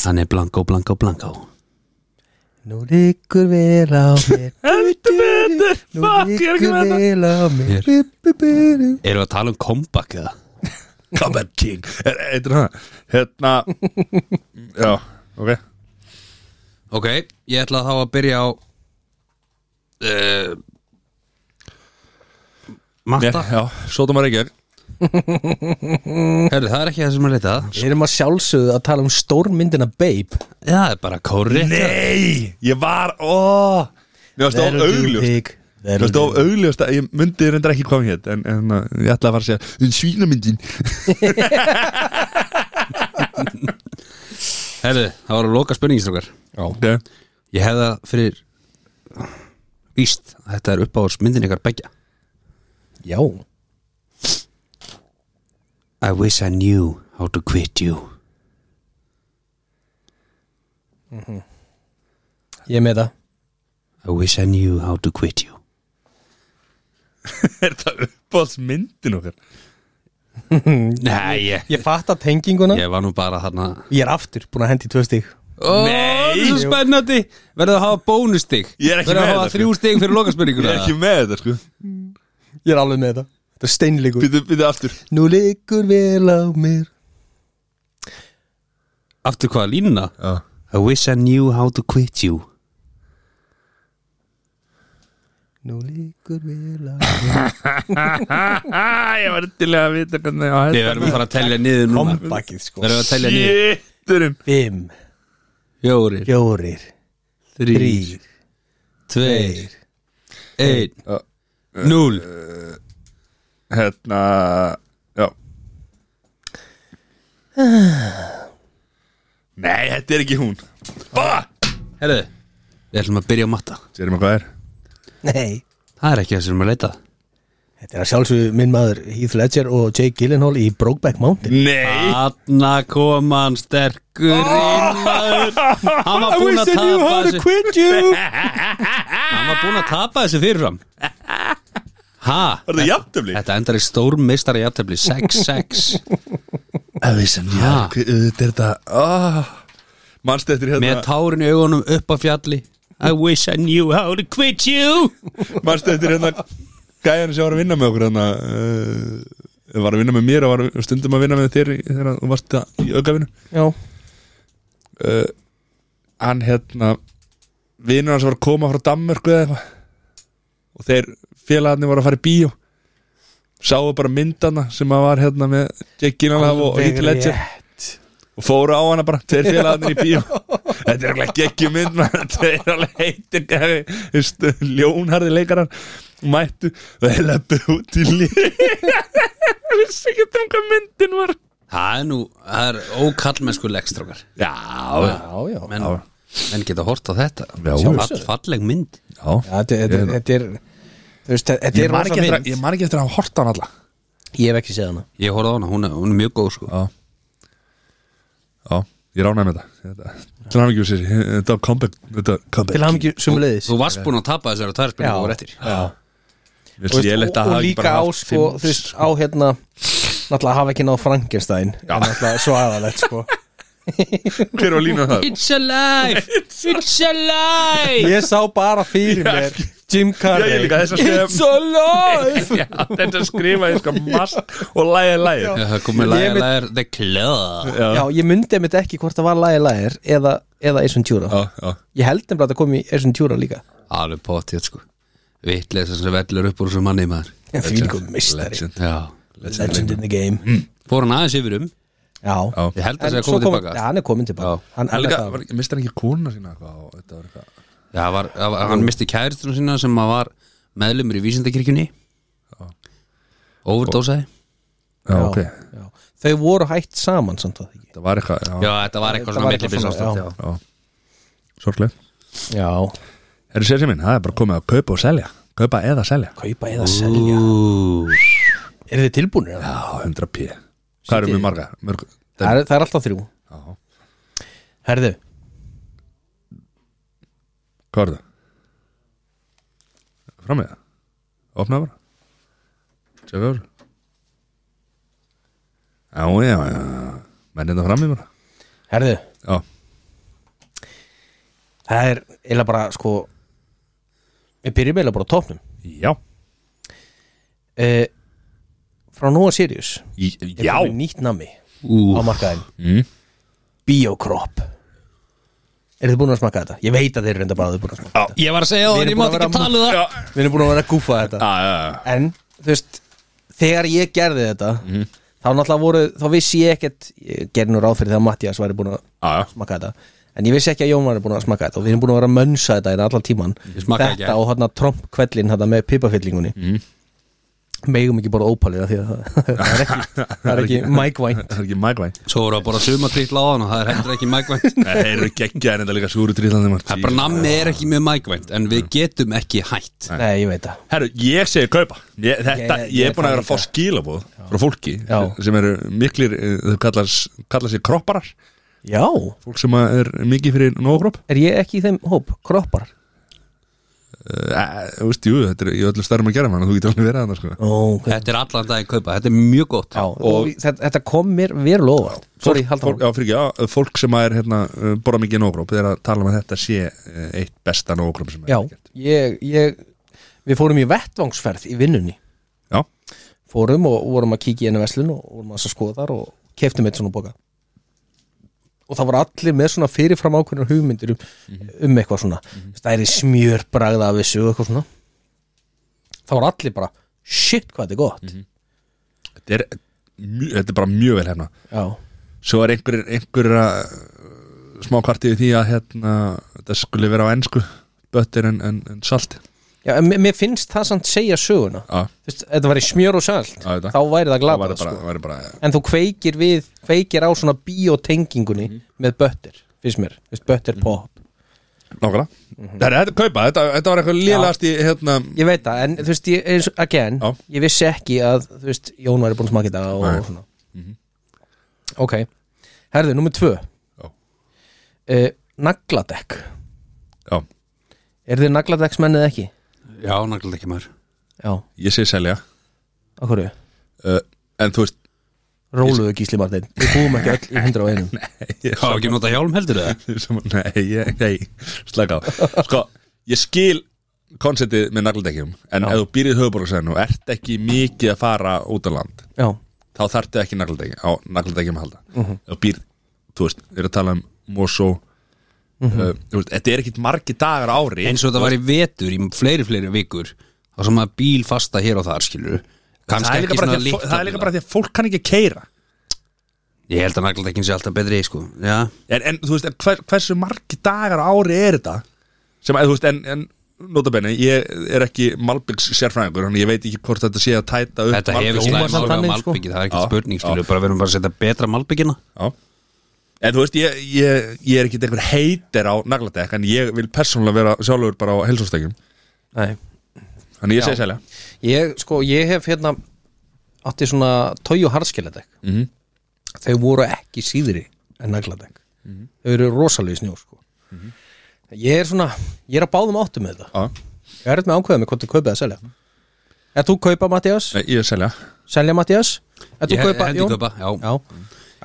S3: hann er blanko, blanko, blanko
S2: nú liggur vel á mér
S1: Heldur betur
S2: nú liggur vel á mér
S3: Mér.
S2: bu, bu, bu, bu.
S3: Erum við að tala um comeback eða?
S1: Combat King Er eitthvað það Hérna Já, ok
S3: Ok, ég ætla þá að byrja á eh, uh,
S1: Ég,
S3: Matta
S1: Já, sótum að reykja
S3: Herru, það er ekki það sem er leitað
S2: Við erum að sjálfsögðu að tala um stórmyndina Babe
S3: Já, það er bara kóri
S1: Nei, ég var, ó Mér varst of augljóst Mér varst of augljóst að ég myndi reyndar ekki hvað hér en, en uh, ég ætla að fara að segja Svínamyndin
S3: Herru, það var að loka spurningistrókar
S1: okay.
S3: Ég hefði það fyrir Víst, að þetta er uppáðs myndin ykkar begja
S2: Já,
S3: I wish I knew how to quit you
S2: ég er með það
S3: I wish I knew how to quit you
S1: Er það uppáhaldsmyndin okkar?
S3: Nei, ég,
S2: Ég fatt að tenginguna
S3: ég var nú bara þarna
S2: Ég er aftur búin að hendi í tvö stík
S3: Ó, það er svo spennandi Verður að hafa bónustig
S1: Ég er ekki með
S3: Verður að hafa
S1: þetta,
S3: þrjú stig fyrir
S1: Ég
S3: lokaspurninguna
S1: er ekki með þetta sko
S2: Ég er alveg með það Þetta er steinleikur
S1: Býttu, býttu aftur
S2: Nú liggur vel á mér
S3: Aftur hvað, línuna?
S1: Já.
S3: I wish I knew how to quit you
S2: Nú liggur vel á mér
S1: Ég var til að vita hvernig á
S3: Við verðum að fara að telja niður núna
S2: Kompakið sko
S3: Verðum að telja niður
S1: Sýtturinn
S2: Fimm,
S3: Fjórir,
S2: fjórir,
S3: þrýr,
S2: þrýr
S3: tveir, einn, núl
S1: Hérna, já Nei, þetta er ekki hún Bá!
S3: Herðu, við ætlum að byrja á matta
S1: Sérum að hvað er?
S2: Nei
S3: Það er ekki það sem við erum að leita
S2: Þetta er að sjálfsögðu minn maður Heath Ledger og Jake Gyllenhaal í Brokeback Mountain
S1: Nei
S3: Þarna kom hann sterkur inn maður Hann var búinn að tapa þessu
S2: quit you
S3: Hann var búinn að tapa þessu fyrirfram Ha?
S1: Var það jafntöfli?
S3: Þetta endar í stórum meistari jafntefli 6-6
S1: Það vissi hann,
S3: Ha?
S1: Þetta er þetta oh. Manstu eftir
S3: Með
S1: hérna
S3: tárin í augunum upp á fjalli I wish I knew how to quit you
S1: Manstu eftir hérna Gæjan sem var að vinna með okkur hérna uh, Var að vinna með mér og var að- stundum að vinna með þér í- Þegar þú varst að- í aukavinu
S2: Já,
S1: uh, Hann hérna Vinur hans var að koma frá Danmörku eða eitthvað Og þeir félagarnir voru að fara í bíó Sáu bara myndana sem að var hérna með Jake Gyllenhaal og
S2: Alveg
S1: Heath Ledger og fóru á hana bara, tveir félagarnir í bíó þetta er alveg geggjum mynd maður. þetta er alveg heitir ljónharði leikarar mættu og þeir leppu út í líf ég vissi ekki um hvað myndin var
S3: Það er nú, það er ókallmennsku leggstrókar
S1: já,
S2: já, já.
S3: menn, menn geta hort á þetta
S1: Já,
S3: Sjá
S1: já.
S3: all falleg mynd
S1: já.
S2: Já, Þetta þetta- þetta er Þú veist, þetta
S1: ég
S2: er
S1: man
S2: rosa
S1: ekki eftir að-
S2: mynd
S1: ég man ekki eftir að hafa hort á hann alla
S2: Ég hef ekki séð hana
S3: Ég horfði á hana, hún er, hún er mjög góð sko
S1: já, já ég ránaði með þetta Þetta- til hann ekki sér þetta var comeback þetta var
S2: Til
S1: comeback
S2: hann ekki sumulegðis
S3: Þú varst búinn að tapa þessari og það
S2: Já,
S3: er spennið og réttir
S2: já
S1: Mér
S2: Þú
S1: finnst
S2: veist,
S1: lélegt að
S2: og, og
S1: hafa ekki
S2: líka
S1: bara
S2: á
S1: haft
S2: sko,
S1: fimm-
S2: þú veist, á hérna náttúrulega hafa ekki náð Frankenstein en náttúrulega svo aðalegt sko
S1: hver var lína það
S3: It's alive, it's alive
S2: ég sá bara fyrir mér
S1: Já,
S2: Jim
S1: ég
S2: Carrey
S1: líka, þess að skrifa-
S2: It's alive
S1: Já, þetta skrifaði sko mast og lægið lægið
S3: Það komið
S2: Ég
S3: lægir,
S2: mynd-
S3: lægir, the club
S2: já, ég myndi einmitt ekki hvort það var lagi lagir eða, eða Eison Tjúra
S1: já, já
S2: ég held nefnilega að það kom í Eison Tjúra líka
S3: Alveg potið sko Vitleisa sem vellur upp úr þessu manni maður
S2: en því líka mistari,
S1: Legend.
S3: Já
S2: legend in the game
S3: Fór hann aðeins yfir um
S2: já,
S1: Já.
S3: Ég
S2: En
S3: held að það sé að
S2: svo
S3: koma
S2: kom-
S3: tilbaka
S2: já, hann er komin tilbaka
S3: Já.
S2: hann, hann er
S1: Helga,
S2: það-
S1: var, mistar hann ekki kona sína eitthvað og þetta var eitthvað
S3: Já, var, var, hann misti kæristunum sína sem að var meðlumur í vísindakirkjunni Overdósaði
S1: Já,
S2: já,
S1: ok,
S2: já. þau voru hætt saman samt var það ekki
S1: það var eitthvað
S3: Já,
S1: Já,
S3: þetta var
S2: Þetta
S3: eitthvað svona
S2: var eitthvað
S3: millibils
S2: svona,
S3: ástand
S1: já. sorglega
S2: já,
S1: Herru sér sem minn, það er bara komið að kaupa og selja Kaupa eða selja
S2: kaupa eða selja eru þið tilbúinir? Já,
S1: Já, 100 p Hvað erum við marga? Mörg,
S2: það er, það er alltaf þrjú
S1: Já.
S2: Herðu,
S1: hvað er það? Fram með það? Opnaði bara Sjáðu það Já, já, já Menn þetta fram í bara
S2: herðu
S1: Já,
S2: Það er eiginlega bara sko Við byrjum eiginlega bara á topnum
S1: já,
S2: uh, Frá Nóa Sirius
S1: Í-
S2: er
S1: já.
S2: komið Nýtt nami á markaðin
S1: Mm.
S2: Biocrop Er þið búin að smakka þetta? Ég veit að þeir eru enda bara að þið búin að smakka
S3: Ég var að segja
S2: Við
S3: það,
S2: erum
S3: ég
S2: búin
S3: mátt
S2: að
S3: ekki
S2: vera-
S3: tala um það
S2: þetta Við erum búin að vera að gúfa þetta
S1: já, já, já.
S2: En þú veist þegar ég gerði þetta þá náttúrulega voru, þá vissi ég ekkert ég gerði nú ráð fyrir þegar Mattias væri búin að
S1: Já, já.
S2: smakka þetta en ég vissi ekki að Jón væri búin að smakka þetta og við erum búin að vera að mönsa þetta í allan tíman
S3: Ég smakkaði ekki.
S2: þetta og þarna trompkvellin þarna með pipafyllingunni mm. megum ekki bara ópalið af því að það, það er ekki, það er ekki Mike White
S1: Það er ekki mækvæn
S3: Svo voru að bara suma trýtla á hann og það er heldur ekki mækvænt
S1: Það eru geggjaðir þetta líka súru tríðlandi
S3: Það er bara nammi er ekki mjög mækvænt en
S1: Mm.
S3: við getum ekki hætt
S2: Nei, ég veit það
S1: Herru, ég segi kaupa ég, þetta,
S2: Ég-
S1: ég,
S2: ég-
S1: er búin að vera að fá skilabóð frá fólki
S2: Já.
S1: sem eru miklir, eh, þau kallar, kallar sér kropparar
S2: Já,
S1: fólk sem að er mikið fyrir nógróp
S2: er ég ekki í þeim hóp, kroppar
S1: Eh, Þú veist, jú, þetta er í öllu stærðum að gera mann þú getur alveg verið að það sko
S2: Ó, ok
S3: Þetta er allan daginn kaupa, þetta er mjög gott
S2: Já, og þetta, þetta kom mér verulega óvart Sorry,
S1: fólk,
S2: halda
S1: fólk,
S2: fólk,
S1: já, fyrir, já, fólk sem að er hérna, eh, borða mikið nógróp þeir að tala um að þetta sé eh, eitt besta nógróp sem er
S2: Já,
S1: gert.
S2: ég, ég Við fórum í vettvangsferð í vinnunni
S1: já,
S2: Fórum og vorum að kíkja í einu veslun og vorum að skoða þar og keftum eitt svona boka Og það voru allir með svona fyrirfram ákveðnar hugmyndir um, um eitthvað svona Það er í smjörbragða af þessu og eitthvað svona Það voru allir bara Shit, hvað þetta er gott
S1: þetta er, mjö, þetta er bara mjög vel hérna
S2: Já,
S1: svo er einhver, einhver að uh, smá kvartið því að hérna, þetta skulle vera á ensku böttir en, en, en salt
S2: já en mér- mér finnst það samt segja söguna
S1: Já,
S2: Þú veist, Þetta var í smjör og salt
S1: Já, þetta.
S2: Þá væri það
S1: það
S2: glatað
S1: væri bara,
S2: sko.
S1: sko. bara
S2: en þú kveikir við kveikir á svona biotengingunni
S1: Mhm.
S2: með bötter, finnst mér, finnst bötter pop
S1: Nákvæmlega
S2: Mhm.
S1: Þetta er kaupa, þetta, þetta var eitthvað lélegast í hérna
S2: ég veit það, en þú veist, ég, eins og- again
S1: Já.
S2: ég vissi ekki að, þú veist, Jón væri búin að smaka þetta og,
S1: Nei. Mhm.
S2: og svona ok, herðu, nummer tvö
S1: Já.
S2: uh, nagladekk
S1: Já,
S2: er þið nagladekksmenn eða ekki?
S3: Já, nákvæmlega ekki maður
S2: já,
S1: ég segi selja
S2: á hverju?
S1: uh, En þú veist
S2: Róluðu Gísli Martin, við búum ekki öll í hundra og einum
S1: ég,
S3: Hvað ekki nota hjálm heldur það?
S1: sem, Nei, ég, nei, slaka á Sko, ég skil konceptið með nagladekkjum En ef þú býrið höfuborgarsæðinu og ert ekki mikið að fara út á land
S2: já,
S1: þá þarftu ekki nagladekki á nagladekkjum að halda uh -huh. býr, þú veist, við erum að tala um Mosó uh, þú veist, Þetta er ekkit margi dagar á ári
S3: Eins og þetta var í vetur í fleiri fleiri vikur þá sem maður bíl fasta hér og þar skilur
S1: það
S3: Kannski
S1: er, líka
S3: ekki
S1: bara
S3: svona
S1: því að,
S3: litla
S1: fó- það er líka
S3: bíla.
S1: bara því að fólk kann ekki að keira
S3: Ég held að nákvæmlega ekki sé alltaf betri sko Já,
S1: en, en þú veist, en hver, hversu margi dagar á ári er þetta sem að, þú veist, en, en notabenni, ég er ekki Malbyggs sérfræðingur, þannig ég veit ekki hvort þetta sé að tæta upp
S3: Þetta hefur
S1: Malbik-
S2: Hljómar
S3: slæm
S2: samt
S3: áhrif á
S2: þannig, sko.
S3: malbyggið, það er ekki
S1: Já,
S3: spurning skilur,
S1: já.
S3: bara verðum bara að setja betra malbyggina
S1: Já. en þú veist, ég, ég, ég er ekki einhver heitir á nagladekk, en ég vil persónulega vera sjálfur bara á helsóstekjum
S2: nei
S1: þannig ég segi sælja
S2: Ég, sko, ég hef hérna átti svona tói og harðskeladekk
S1: Mhm.
S2: þau voru ekki síðri en nagladekk þau eru rosalega í snjó sko. ég er svona, ég er að báðum áttum með þetta
S1: Já.
S2: ég er eitthvað með ákveða með hvort þú kaupið að selja Er þú kaupa Mattias?
S1: Nei, ég selja
S2: Selja Mattiás? Er þú
S3: Ég
S2: kaupa
S3: hendi
S2: Jón?
S3: kaupa, já.
S2: Já,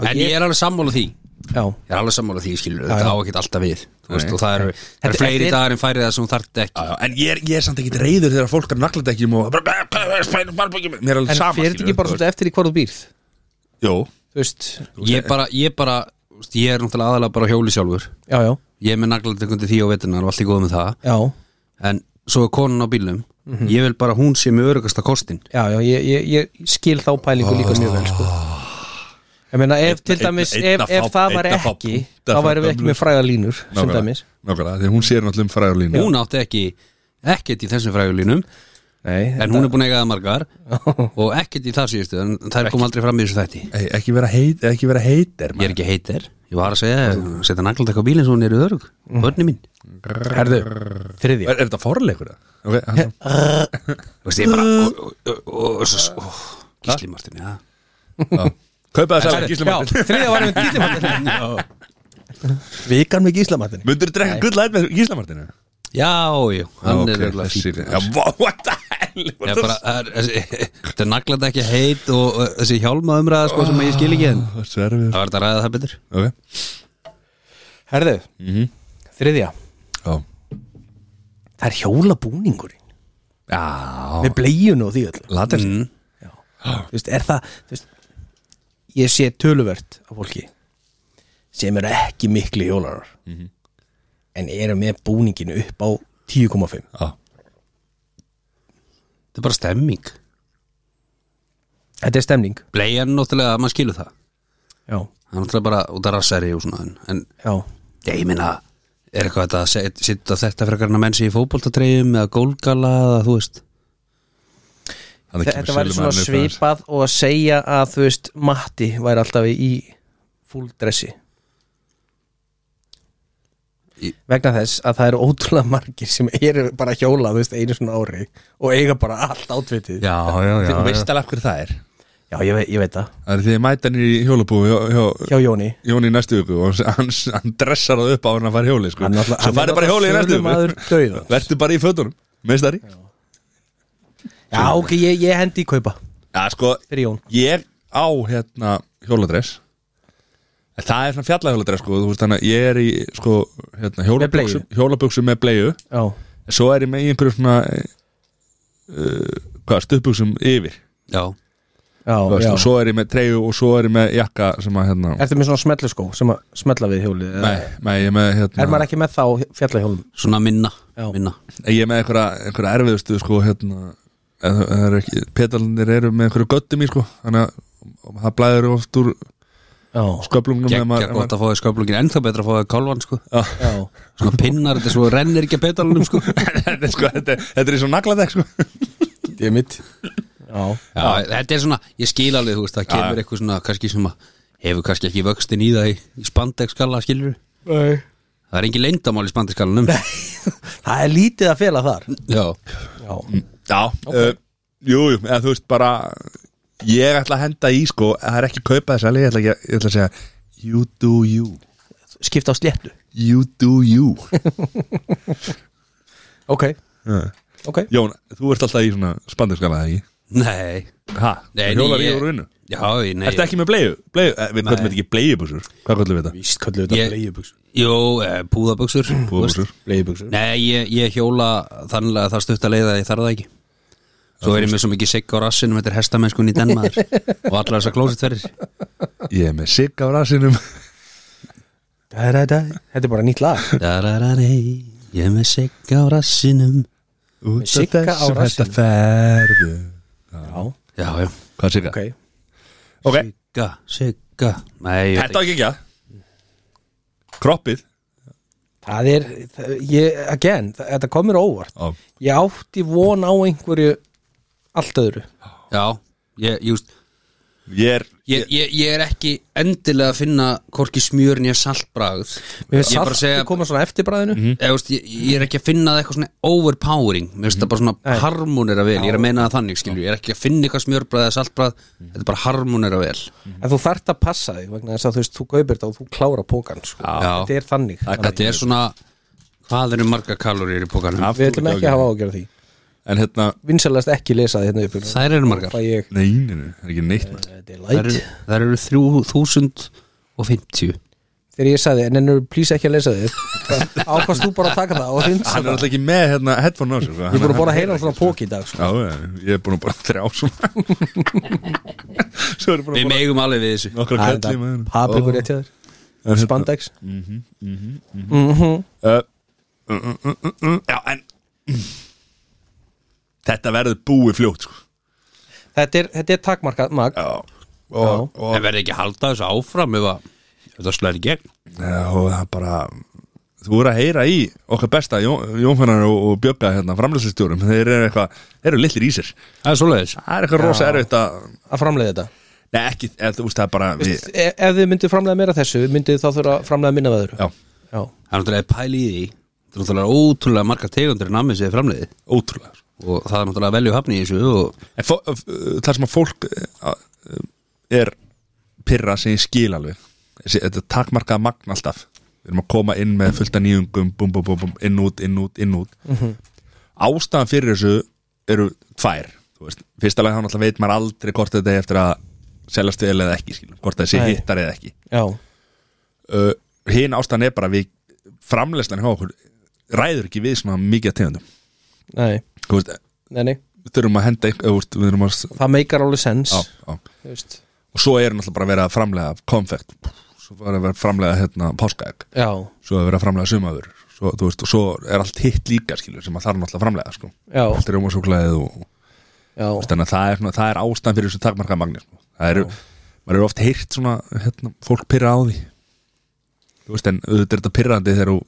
S2: Já,
S3: En ég er alveg sammála því Ég
S2: já,
S3: er alveg sammála því, skilur, þetta á ekkert alltaf við Þú veist, og það eru það
S2: Þetta-
S3: eru fleiri
S2: þetta er-
S3: dagar en færi það sem þú þarft
S1: Já,
S3: ekki
S1: já, en ég er, ég er samt ekki reyður þegar fólk er nagladekkjum og bara, "Bæ, bæ, bæ, spænum malbyggjum Mér er alveg
S2: En
S1: sama
S2: fyrir þetta ekki
S3: sko.
S2: bara svolítið eftir í hvar þú býrð
S1: Jó,
S2: Þú veist,
S3: Ég bara, ég bara, þú veist, ég er náttúrulega aðalega bara á hjóli sjálfur
S2: já, já,
S3: Ég er með naglaldegundi því á vetunar og allt í góð með það
S2: já
S3: En svo er konan á bílnum
S2: Mhm.
S3: Ég vil bara að hún sé með örugasta kostin
S2: Já, já, ég, ég, ég skil þá pælingu líka mjög vel sko. Ég meina, ef til
S1: Ah. einn-
S2: dæmis
S1: einn
S2: ef,
S1: að fá-
S2: ef það
S1: einn
S2: var
S1: að fá
S2: ekki
S1: punkta
S2: þá
S1: frá
S2: væri við ekki
S1: gömlu.
S2: með fræða línur sem dæmis
S1: Nákvæmlega, því að hún sér náttúrulega um fræðarlínu
S3: Hún átti ekki, ekkert í þessum frægulínum
S2: Nei,
S3: En hún er búin að eiga það margar Og ekkert í þar síðustu En þær kom aldrei fram í þessu þætti
S1: Ei, ekki vera heit, ekki vera heitir
S3: Ég er ekki heitir, ég var að segja Setta nagladekk á bílinn svo hún er örug
S2: Mhm.
S3: Börni mín
S2: Herðu, þriðja
S1: Er, er þetta forleikur? Okay, hann-
S3: Þú veist, ég bara
S2: Uh.
S3: og- og- og- og- og- og- og- Gísli Martin, já
S1: já. Kaupa þess að Gísli
S2: Já,
S1: Martin
S2: þriðja var með gíslamartin Vikan með gíslamartin
S1: Mundur þú drekka gull læt með Gísli Martinu?
S3: Já, já, hann er örgulega fín
S1: Já, vá, what the hell
S3: Ég er bara, það er- þessi- Þetta er nagladekk ekki heit Og og þessi hjálma umræða sko sem ég skil ekki En
S1: Sverfið
S3: það var þetta að ræða það betur
S1: Ok, Mhm.
S2: Herðu, þriðja
S1: já
S2: Það er hjólabúningurinn
S1: Já, Ah.
S2: með blegjunu og því öll
S1: latir
S3: Mm.
S2: Þú veist, er það þú veist, Ég sé töluvert af fólki sem eru ekki miklu hjólarar
S1: Mhm.
S2: en eru með búninginu upp á 10,5
S1: Já,
S3: Þetta er bara stemming
S2: Þetta er stemning
S3: Bleian náttúrulega, maður skilur það
S2: Já,
S3: Hann er náttúrulega bara út að rassari og svona En, en
S2: já,
S3: ég minna, er eitthvað þetta að set- setja þetta frekar en að menn sig í fótboltatreyjum eða gólgala eða þú veist
S1: Þannig kemur
S2: Þetta var svona
S1: Silverman upp aðeins.
S2: svipað og að segja að þú veist Matti væri alltaf í full dressi
S3: Í-
S2: vegna þess að það eru ótrúlega margir sem eru bara að hjóla þú veist, einu svona ári og eiga bara allt átvitið
S3: Já, já, já,
S1: Þú veist alveg hverju það er
S2: Já, ég, veit, ég veit það,
S1: Það er því að mæta hann í hjólabúi hjá, hjá
S2: hjá Jóni
S1: Jóni í næstu viku og hann, hann dressar það upp á hann að fara í hjóli sko.
S2: Hann náttúrulega-
S1: Svo
S2: hann
S1: farið
S2: er
S1: bara í hjóli í næstu
S2: sölumaður
S1: viku
S2: dauðans.
S1: Vertu bara í fötunum Meistari
S2: Já, ok, ég, ég hendi í kaupa
S1: Já, sko,
S2: fyrir Jón
S1: ég á hérna hjóladress En það er svona fjallahjóladress sko, þú veist þannig að ég er í sko, hérna, hjólabuxum,
S2: bleiu.
S1: hjólabuxum með bleiu
S2: Já,
S1: en svo er ég með í einhverjum svona uh, hvað, stuðbuxum yfir
S3: já
S2: já, Eh.
S1: þú veist,
S2: já
S1: og svo er ég með treyju og svo er ég með jakka sem að hérna
S2: Ertu með svona smelluskó sem að smella við hjólið eða-
S1: nei, nei, ég er með
S2: Er
S1: hérna
S2: maður ekki með þá fjallahjólum?
S3: Svona minna,
S2: Já.
S3: minna
S1: ég er með einhverja, einhverja erfiðustu sko hérna en það- en það er ekki, pedalinir eru með einhverju göttum í sko þannig að og það blæður oft úr
S2: Já,
S1: sköplungnum ef maður-
S3: Gekkja
S1: ef
S3: gott
S1: maður-
S3: að fá í sköflungin, ennþá betra að fá í kálvan sko
S2: já
S3: Svona pinnar, þetta er svo rennir ekki að pedalunum sko
S1: Þetta er sko, þetta er- þetta er í svo nagladekk sko
S2: Ég mitt Já,
S3: Já, þetta er svona, ég skil alveg, þú veist, það kemur eitthvað svona, kannski sem að hefur kannski ekki vöxtin í það í, í spandegskalla, skilur
S2: nei
S3: Það er engin leyndamál í spandegskalanum
S2: Það er lítið að fela þar
S3: Já,
S2: Já,
S1: Já, okay. uh, jú, jú, eða þú veist bara Ég ætla að henda í sko að Það er ekki kaupa þess að ég ætla, ekki, að- ég ætla að segja You do you
S2: skipta á sléttu
S1: You do you
S2: Ok, ok
S1: Eh, Jón, þú ert alltaf í svona spandirskala eða ekki
S3: nei
S1: Ha,
S3: Nei, nei,
S1: hjólar í
S3: ég-
S1: úr vinnu
S3: Já, ég- nei
S1: Ertu ekki með bleiðu? bleiðu eh, við köllum þetta ekki bleiðubusur Hvað köllum við þetta?
S2: Víst kallir
S3: Ég- Jó, eh, púðabuxur þú veist.
S1: Búðabusur
S2: Bleiðbuxur
S3: Nei, ég, ég hjóla þannig að það stutt að leiða að ég þarf það ekki Svo er ég með svo mikið sigg á rassinum, þetta er hestamennskun í Danmar Og allar þessar klósitverðir
S1: Ég er með sigg á rasinum
S2: Þetta er bara nýtt lag
S3: Darararei, ég er með sigg á rassinum
S1: Út af
S2: Sigga á
S1: þessum þetta
S2: rassinum.
S1: ferðu
S2: Já,
S3: Já, já,
S1: Hvað er sigga?
S2: ok
S1: Ok,
S3: sigga, sigga Nei, ég veit
S1: þetta á ekki ekki að Kroppið
S2: Það er, það- ég, again, það- þetta komur óvart
S1: Ó,
S2: Ég átti von á einhverju allt öðru
S3: ekki Já, ég, ég veist
S1: Ég er
S3: Ég, ég, ég er ekki endilega að finna hvorki smjör nýja saltbragð
S2: Mér
S3: Ég
S2: finnst
S3: er bara að
S2: salti
S3: segja
S2: segja... koma svona eftirbræðinu mm
S3: ég, veist, ég, ég er ekki að finna það eitthvað svona overpowering Mér
S2: Mhm.
S3: finnst það bara svona harmonera vel Ég er að meina það þannig skilju Ég er ekki að finna eitthvað smjörbragð eða saltbragð
S2: Mhm.
S3: Þetta er bara harmonera vel
S2: En þú þarft að passa þig vegna þess að þú veist, þú gaupir þetta og þú klára pókan sko.
S3: Já.
S2: Þetta er þannig
S3: Þetta er svona Hvað eru marga kalórir í bókanum?
S2: Við ætlum ekki að hafa ágjörð því
S1: En hérna
S2: Vinsalast ekki lesa því hérna upp
S3: Þær eru margar
S2: Fæ ég,
S1: Nei, nei, nei, það er ekki neitt maður.
S2: þetta er
S3: Þær
S2: læt
S3: eru, þær eru 3050
S2: þegar ég sagði en ennur plís ekki að lesa þig ákvæmst þú bara að taka það og hinsa
S1: Hann er
S2: það
S1: alltaf ekki með hérna headphone á sér sko.
S2: ég er búin að bóra
S1: Hann-
S2: að heyra svona pók í dag sko.
S1: Já, já, ég er búin að bara þrjá svona Svo er ég búin
S3: Við
S1: að bara
S3: megum alveg við þessu
S1: Nokkra
S2: Það er
S1: kalli með
S2: þetta
S1: henni
S2: paprikur rétt hjá þér
S1: hérna,
S2: spandex
S1: eh, Já, en Þetta verður búið fljótt sko.
S2: þetta er, þetta er takmarkað mag
S1: Já Og, og,
S3: En verði ekki að halda þessu áfram ef að ef það slæðir í gegn
S1: Já, og það bara Þú er að heyra í okkar besta Jón- Jónfannar og, og Bjögga hérna, framlýslistjórum Þeir eru eitthvað, þeir eru litlir í sér
S3: Það er svoleiðis
S1: Það er eitthvað rosa erfitt að
S2: að framleiða þetta
S1: Nei, ekki, eða, þú veist það er bara við,
S2: e ef þið myndu framleiða meira af þessu myndu þá þurfa að framleiða minna af öðru
S1: Já,
S2: Já.
S3: Það er náttúrulega pæli í því Það er náttúrulega ótrúlega margar tegundir en ammið sér framleiði
S1: ótrúlega sko.
S3: og það er náttúrulega velju hafni í þessu og
S1: En fó- f- það sem að fólk eh, að, eh, er pyrra sem ég skil alveg Þessi- Þetta er takmarkað magn alltaf Við erum að koma inn með fullta nýjungum bum, bum, bum, bum, inn út, inn út, inn út Ástæðan fyrir þessu eru tvær þú veist. Fyrsta lega hann alltaf veit maður aldrei hvort þetta er eftir að seljast vel eða ekki skilur, hvort það sé
S2: Nei.
S1: hittar eða ekki
S2: Já.
S1: uh, Hinn ástæðan er bara að við framleyslan hjá okkur ræður ekki við svona mikið af tegundum
S2: Nei.
S1: Þú veist,
S2: Nei, nei.
S1: við þurfum að henda eitthvað, úrst, við þurfum að
S2: það meikar alveg sens
S1: á, á.
S2: Þú veist.
S1: og svo er náttúrulega bara að vera að framlega konfekt, svo var að vera að framlega hérna, páskaegg,
S2: Já.
S1: svo að vera að framlega sumaður, svo, þú veist, og svo er allt hitt líka skilur sem að þarf náttúrulega að framlega sko.
S2: Já.
S1: allt er um og
S2: Já.
S1: Þú veist, þannig að það er, svona, það er ástæðan fyrir þessu takmarka magni sko. það eru, maður eru oft heyrt svona hérna, fólk pyrra á því þú veist, en auðvitað er þetta pyrrandi þegar þú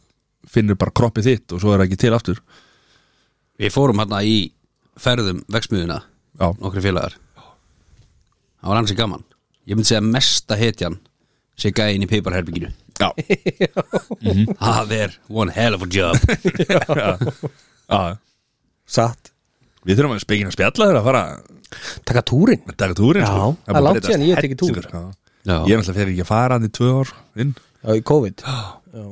S1: finnur bara kroppið þitt og svo er það ekki til aftur
S3: Við fórum hérna í ferðum vexmiðuna
S1: Já.
S3: Nokkri félagar Það var hans í gaman Ég myndi segja að mesta hetjan sé gæðin í peiparherbygginu
S1: já,
S3: Það er one hell of a job
S1: já,
S2: Satt
S1: við þurfum að spekina spjalla þegar að fara að
S2: Taka túrin
S1: taka túrin
S2: Já,
S1: sko.
S2: það er
S1: bara
S2: langt
S1: breytast
S2: síðan ég hef tekið túr.
S1: hellingur, já.
S3: Já.
S1: ég er alltaf fyrir ekki að fara hann í tvö ár inn
S2: Já, í COVID Já.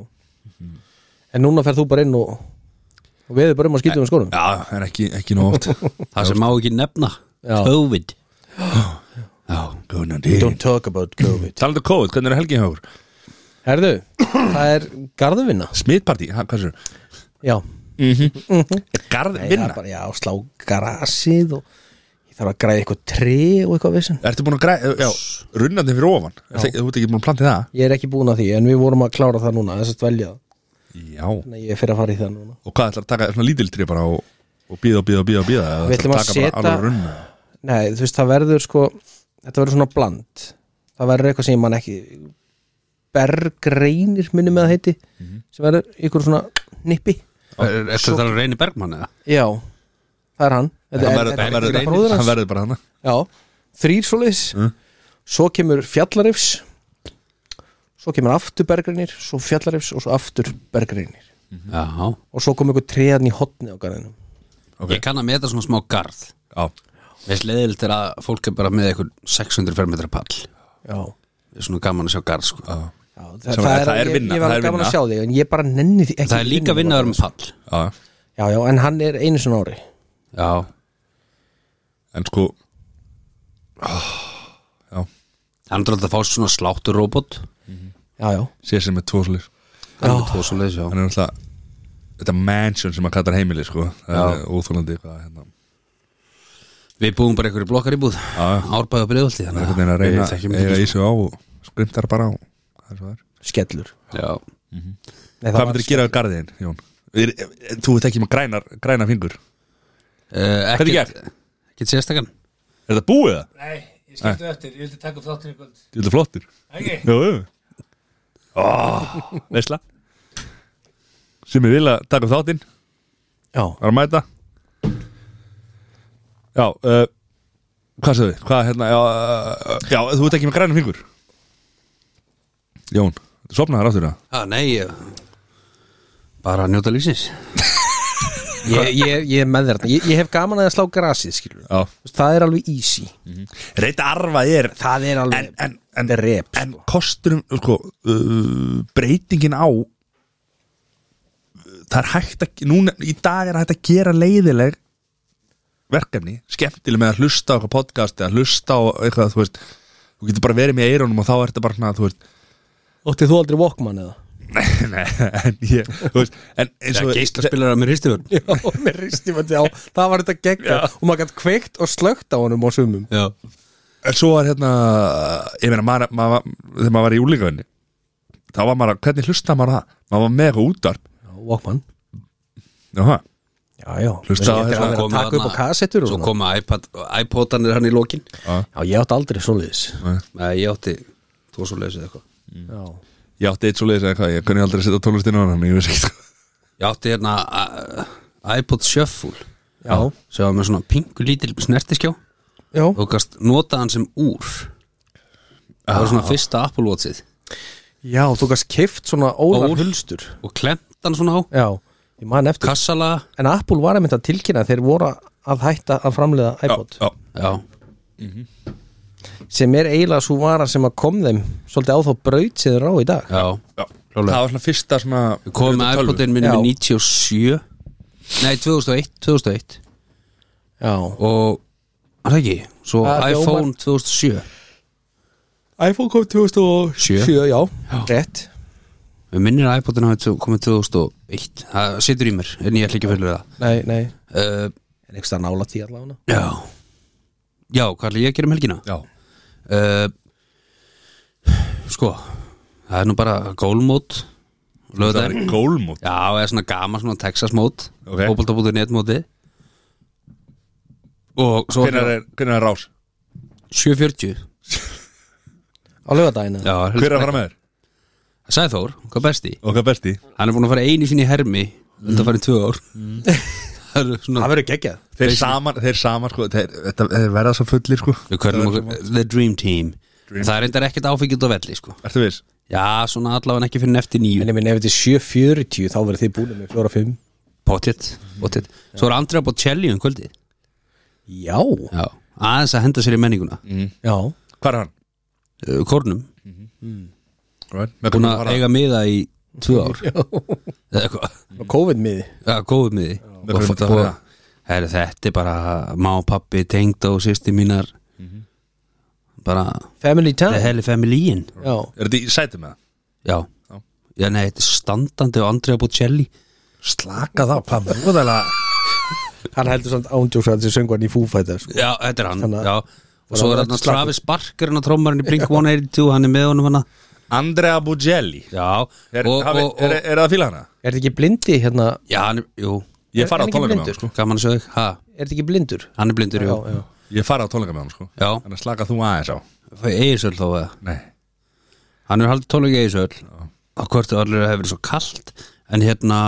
S2: En núna ferð þú bara inn og og veður bara um að skýta um skórum
S1: já, en ekki, ekki nóg oft
S3: Það sem má ekki nefna
S2: Já.
S3: COVID
S1: já, góðnandi
S2: talk about COVID
S1: talandi um COVID, hvernig er helgin hjá okkur?
S2: Herðu, það er garðvinna
S1: smitparti, ha, hvað sér?
S2: Já,
S1: Garð,
S2: Nei, það
S1: vinna,
S2: er bara, já, slá grasið og ég þarf að græða eitthvað tré og eitthvað vissin
S1: ertu búin að græða já, runnandi fyrir ofan, Ertu ekki- þú ert ekki búin að planta í það
S2: Ég er ekki búin að því, en við vorum að klára það núna þess að velja,
S1: Já,
S2: þannig að ég fer að fara í það núna
S1: og hvað ætlar að taka svona lítil tré bara og, og býða og býða og býða og býða
S2: Við ætlum að setja- Nei, þú veist, það verður sko þetta verður svona bland það verður eitthvað sem mann ekki bergreinir minni með að heiti
S1: Mhm.
S2: sem verður ykkur svona nippi
S3: Þetta svo... þarf að reyni Bergmann eða?
S2: Já, það er hann Þetta
S1: Hann
S2: er-
S1: verður-
S2: þetta er
S1: hann verður-
S2: þetta er bróðir
S1: hann
S2: hans
S1: verður bara hana
S2: Já, þrýr svoleiðis
S1: Mm.
S2: svo kemur fjallarifs svo kemur aftur bergreinir svo fjallarifs og svo aftur bergreinir
S3: Já
S2: og svo kom eitthvað treðan í hotni á garðinum
S1: Ok.
S3: Ég kann að meta svona smá garð
S1: Já,
S3: Veist leiðilegt er að fólk er bara með eitthvað 600 fermetra pall
S2: Já,
S3: Það er svona gaman að sjá garð sko
S1: já,
S2: Já það,
S1: Sem er- það er
S2: ég-
S1: vinna,
S2: Ég var
S1: það er
S2: gaman að
S1: vinna.
S2: sjá þig, en ég bara nenni því ekki
S3: Það er líka vinnaður með pall
S1: já
S2: Já, já, en hann er einu svona ári
S3: Já,
S1: En sko,
S3: hann er alltaf að fá svona slátturróbot
S2: Já, já,
S1: sé sem er tvo slis
S3: Það er með tvo svo leiðis, já
S1: Hann er alltaf Þetta mansion sem maður kallar heimili sko Það
S3: Já.
S1: er óþólandi hvað hérna
S3: Við búum bara einhverju blokkar í búð
S1: já.
S3: Árbæðu og breiðolti
S1: Það er einhvern veginn að
S3: Við þekkjum
S1: reyna eiga
S3: ekki
S1: í sig á og skrimtar bara á Það er svo sko. það er
S2: skellur
S3: sko. Já,
S2: Nei,
S1: Hvað myndir að gera á garðin, Jón? Er- er- Þú ert ekki með grænar, grænar fingur
S3: Eh,
S1: Hvernig
S3: ekkert- Ekkert sérstakann
S1: Er þetta búið það?
S6: Nei, ég skipti eftir, ég vildi taka upp þáttin í kvöld
S1: Þetta er flottur
S6: Ekki?
S1: Jú, jú oh, Veisla Sem ég vil að taka upp þáttinn
S2: Já,
S1: Það er að mæta Já, uh, hvað segðu? Hvað, hérna, já, uh, já, þú ert ekki með grænum fingur Jón, þú sopnaður áttur það
S3: ah, Nei, ég... bara að njóta lífsins
S2: ég, ég, ég er með þér þarna. ég, ég hef gaman að slá grasið, skilur við.
S1: Já,
S2: Þú veist, Það er alveg easy
S1: reyta arfa er
S2: Það er alveg
S1: Mm. En, en, en,
S2: Þetta er rep,
S1: en kosturum, sko, uh, breytingin á uh, Það er hægt að, núna, í dag er hægt að gera leiðileg verkefni Skemmtileg með að hlusta á eitthvað podcast eða hlusta á eitthvað, þú veist Þú getur bara verið með eirunum og þá er þetta bara, svona, þú veist
S2: Óttið þú aldrei Walkman eða?
S1: Nei, nei, en ég þú veist, en eins og
S3: Þegar geislaspilarar með hristivörn
S2: Já, með ristimandi á Það var þetta gegga og maður gætt kveikt og slögt á honum á sumum
S3: Já,
S1: en svo var hérna ég meina, maður, maður, þegar maður var í úlingavinni þá var maður, að- hvernig hlusta maður á það maður var með eitthvað útvarp
S2: Já, Walkman
S1: Jaha,
S2: Já, já
S1: Hlusta á
S2: Þetta er
S1: þessa-
S2: alveg að
S3: komu
S2: taka upp á
S3: þarna-
S2: kassettur og
S3: Svo
S2: svona
S3: koma iPad, iPodanir hann í lókin
S2: Já, ég átt aldrei svoleiðis
S3: Nei, ég átti tvo svo leiðis eða eitthvað
S2: Já
S1: ég átti eitt svo leiðis eða hvað, ég kunni aldrei að setja tónlist inn á hann ég veist ekki sko.
S3: Ég átti hérna uh, iPod Shuffle
S2: Já
S3: sem var með svona pingu lítil snertiskjá
S2: Já,
S3: og gast nota hann sem úr Það var
S2: Ah.
S3: svona fyrsta Apple Watchið
S2: já þú gæst kift svona ólar
S3: Ól.
S2: hulstur
S3: og klemt hann svona á
S2: Já, ég man eftir
S3: kassala
S2: En Apple var að mynda að tilkynna þeir voru að hætta að framleiða iPod
S1: já,
S3: Já,
S2: sem er eiginlega svo vara sem að kom þeim svolítið á þá braut sem þeir eru á í dag
S3: já
S1: já. það var svona fyrsta svona
S3: Við komum með
S1: tölvu.
S3: iPodin minni
S2: Já.
S3: með 97 Nei, 2001, 2001
S2: Já,
S3: og var það ekki, svo
S2: Það
S3: iPhone 2007
S2: iPhone kom 2007 Já, rétt
S3: Við minnir að iPodin hafi tvo- komið 2001 Það situr í mér, en ég ætla ekki að fylgur það
S2: Nei, nei,
S3: uh,
S2: er ekki stað nála tí allavega
S3: Já Já, hvað ætla ég að gera um helgina?
S1: já,
S3: Uh, sko, það er nú bara gólmót
S1: það
S3: Löðar
S1: var
S3: Já,
S1: gólmút
S3: það er svona gama svona Texas mót
S1: Ok.
S3: Fótbolta.net móti og svo
S1: Hvenær er, hvenær er rás?
S3: 7.40
S2: á lögadagina
S3: Já,
S1: Hver er að fara með þér?
S3: Sæþór, hvað besti?
S1: Og hvað besti?
S3: Hann er búin að fara einu sinni í hermi Þetta farið tvö ár
S1: Mm.
S3: Það eru svona
S2: það verður geggjað
S1: Þeir saman, þeir saman sko, þeir, þeir, þeir verða svo fullir sko
S3: Við kvörnum okkur The Dream Team Það er reyndar ekkert áfengjum á velli sko
S1: Ertu viss?
S3: Já, svona allavega ekki fyrir eftir nýju
S2: en ég minn ef þetta er 7.40 þá verður þið búin með 4.5
S3: Pottitt, pottitt Svo er Andrea Bocelli um kvöldi
S2: já,
S3: Já Aðeins að henda sér í menninguna mm.
S2: já,
S1: Hvað er hann?
S3: Kornum
S1: Right. Með
S3: Búin
S1: hvernig
S3: að
S1: var hann?
S3: eiga miða í tvö ár Eða eitthvað
S2: og COVID-miði
S3: Já, góðu miði
S1: Með hverju myndi það vera?
S3: Heru, Þetta er bara má og pappi tengd og sýsti mínar
S1: Mhm.
S3: Bara
S2: family
S3: The
S2: time
S3: hell familyin
S2: já,
S1: Er þetta í sæti með það?
S3: Já
S1: Já.
S3: Já, nei, þetta er standandi og Andrea Bocelli
S1: Slaka þá, hvað múðalega
S2: hann heldur samt ándjóks að þessi söngu hann í fúfæta sko.
S3: Já, þetta er hann
S2: Þannig að-
S3: Já
S2: Þannig að
S3: Og svo er
S2: þetta
S3: hann
S2: er slagur.
S3: Travis Barker hann að trómarinn í Blink-182 Hann er með honum hann
S1: Andrea Bugelli
S3: Já
S1: Er,
S3: og,
S1: hafi,
S3: og, og,
S1: er, er, það að fíla hana?
S2: er þetta ekki blindi hérna
S3: Já, hann er, jú
S1: Ég fara á
S2: hann ekki
S1: tónleika með
S2: blindur?
S1: hann sko
S3: Gaman að sög Ha,
S2: er þetta ekki blindur
S3: hann er blindur, jú
S2: já, já.
S1: Ég fara á tónleika með hann sko
S3: Já,
S1: Þannig að slaka þú aðeins á
S3: fæ Eirsöld þá eða
S1: Nei
S3: Hann er haldið tónleika í Eirsöld Og hvort það allir hefur verið svo kalt En hérna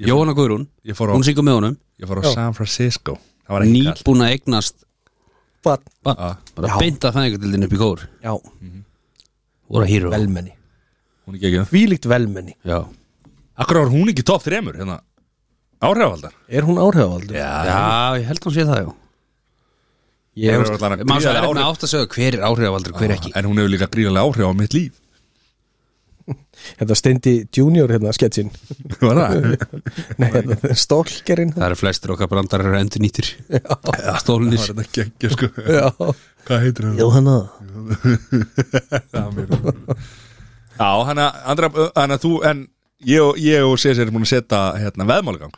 S3: Jóhanna Guðrún
S1: Ég fór á,
S3: Hún syngur með honum
S1: ég fór á San Francisco Það var ekki kall
S3: Nýbúin að eignast
S2: But,
S3: barn. Bara beint að fæðingatildin upp í kór
S2: já,
S3: Voru að hýru
S2: velmenni
S1: Hún er ekki ekki
S2: Vílíkt velmenni
S3: Já
S1: Akkur var hún ekki top 3 hérna Áhrifaldar
S2: Er hún áhrifavaldur?
S3: Já, ég held hún sé það, já
S1: Ég
S2: Ég,
S1: er allan að
S3: Maður svo er
S1: gríðarlega
S3: með átt að segja hver er áhrifavaldur, hver ekki
S1: áhrif En hún hefur líka gríðarlega áhrif á mitt líf
S2: þetta steindi junior hérna sketsin
S1: Var það?
S2: Nei, hérna, þetta er stólkerinn
S3: Það eru flestir okkar brandar eru endur nýttir Stólunis
S1: Var þetta geggja sko
S2: Já.
S1: Hvað heitir hann?
S2: Jóhanna
S1: Já, hann að Andra Hann að þú En ég og, ég og César er búin að setja hérna, veðmálagang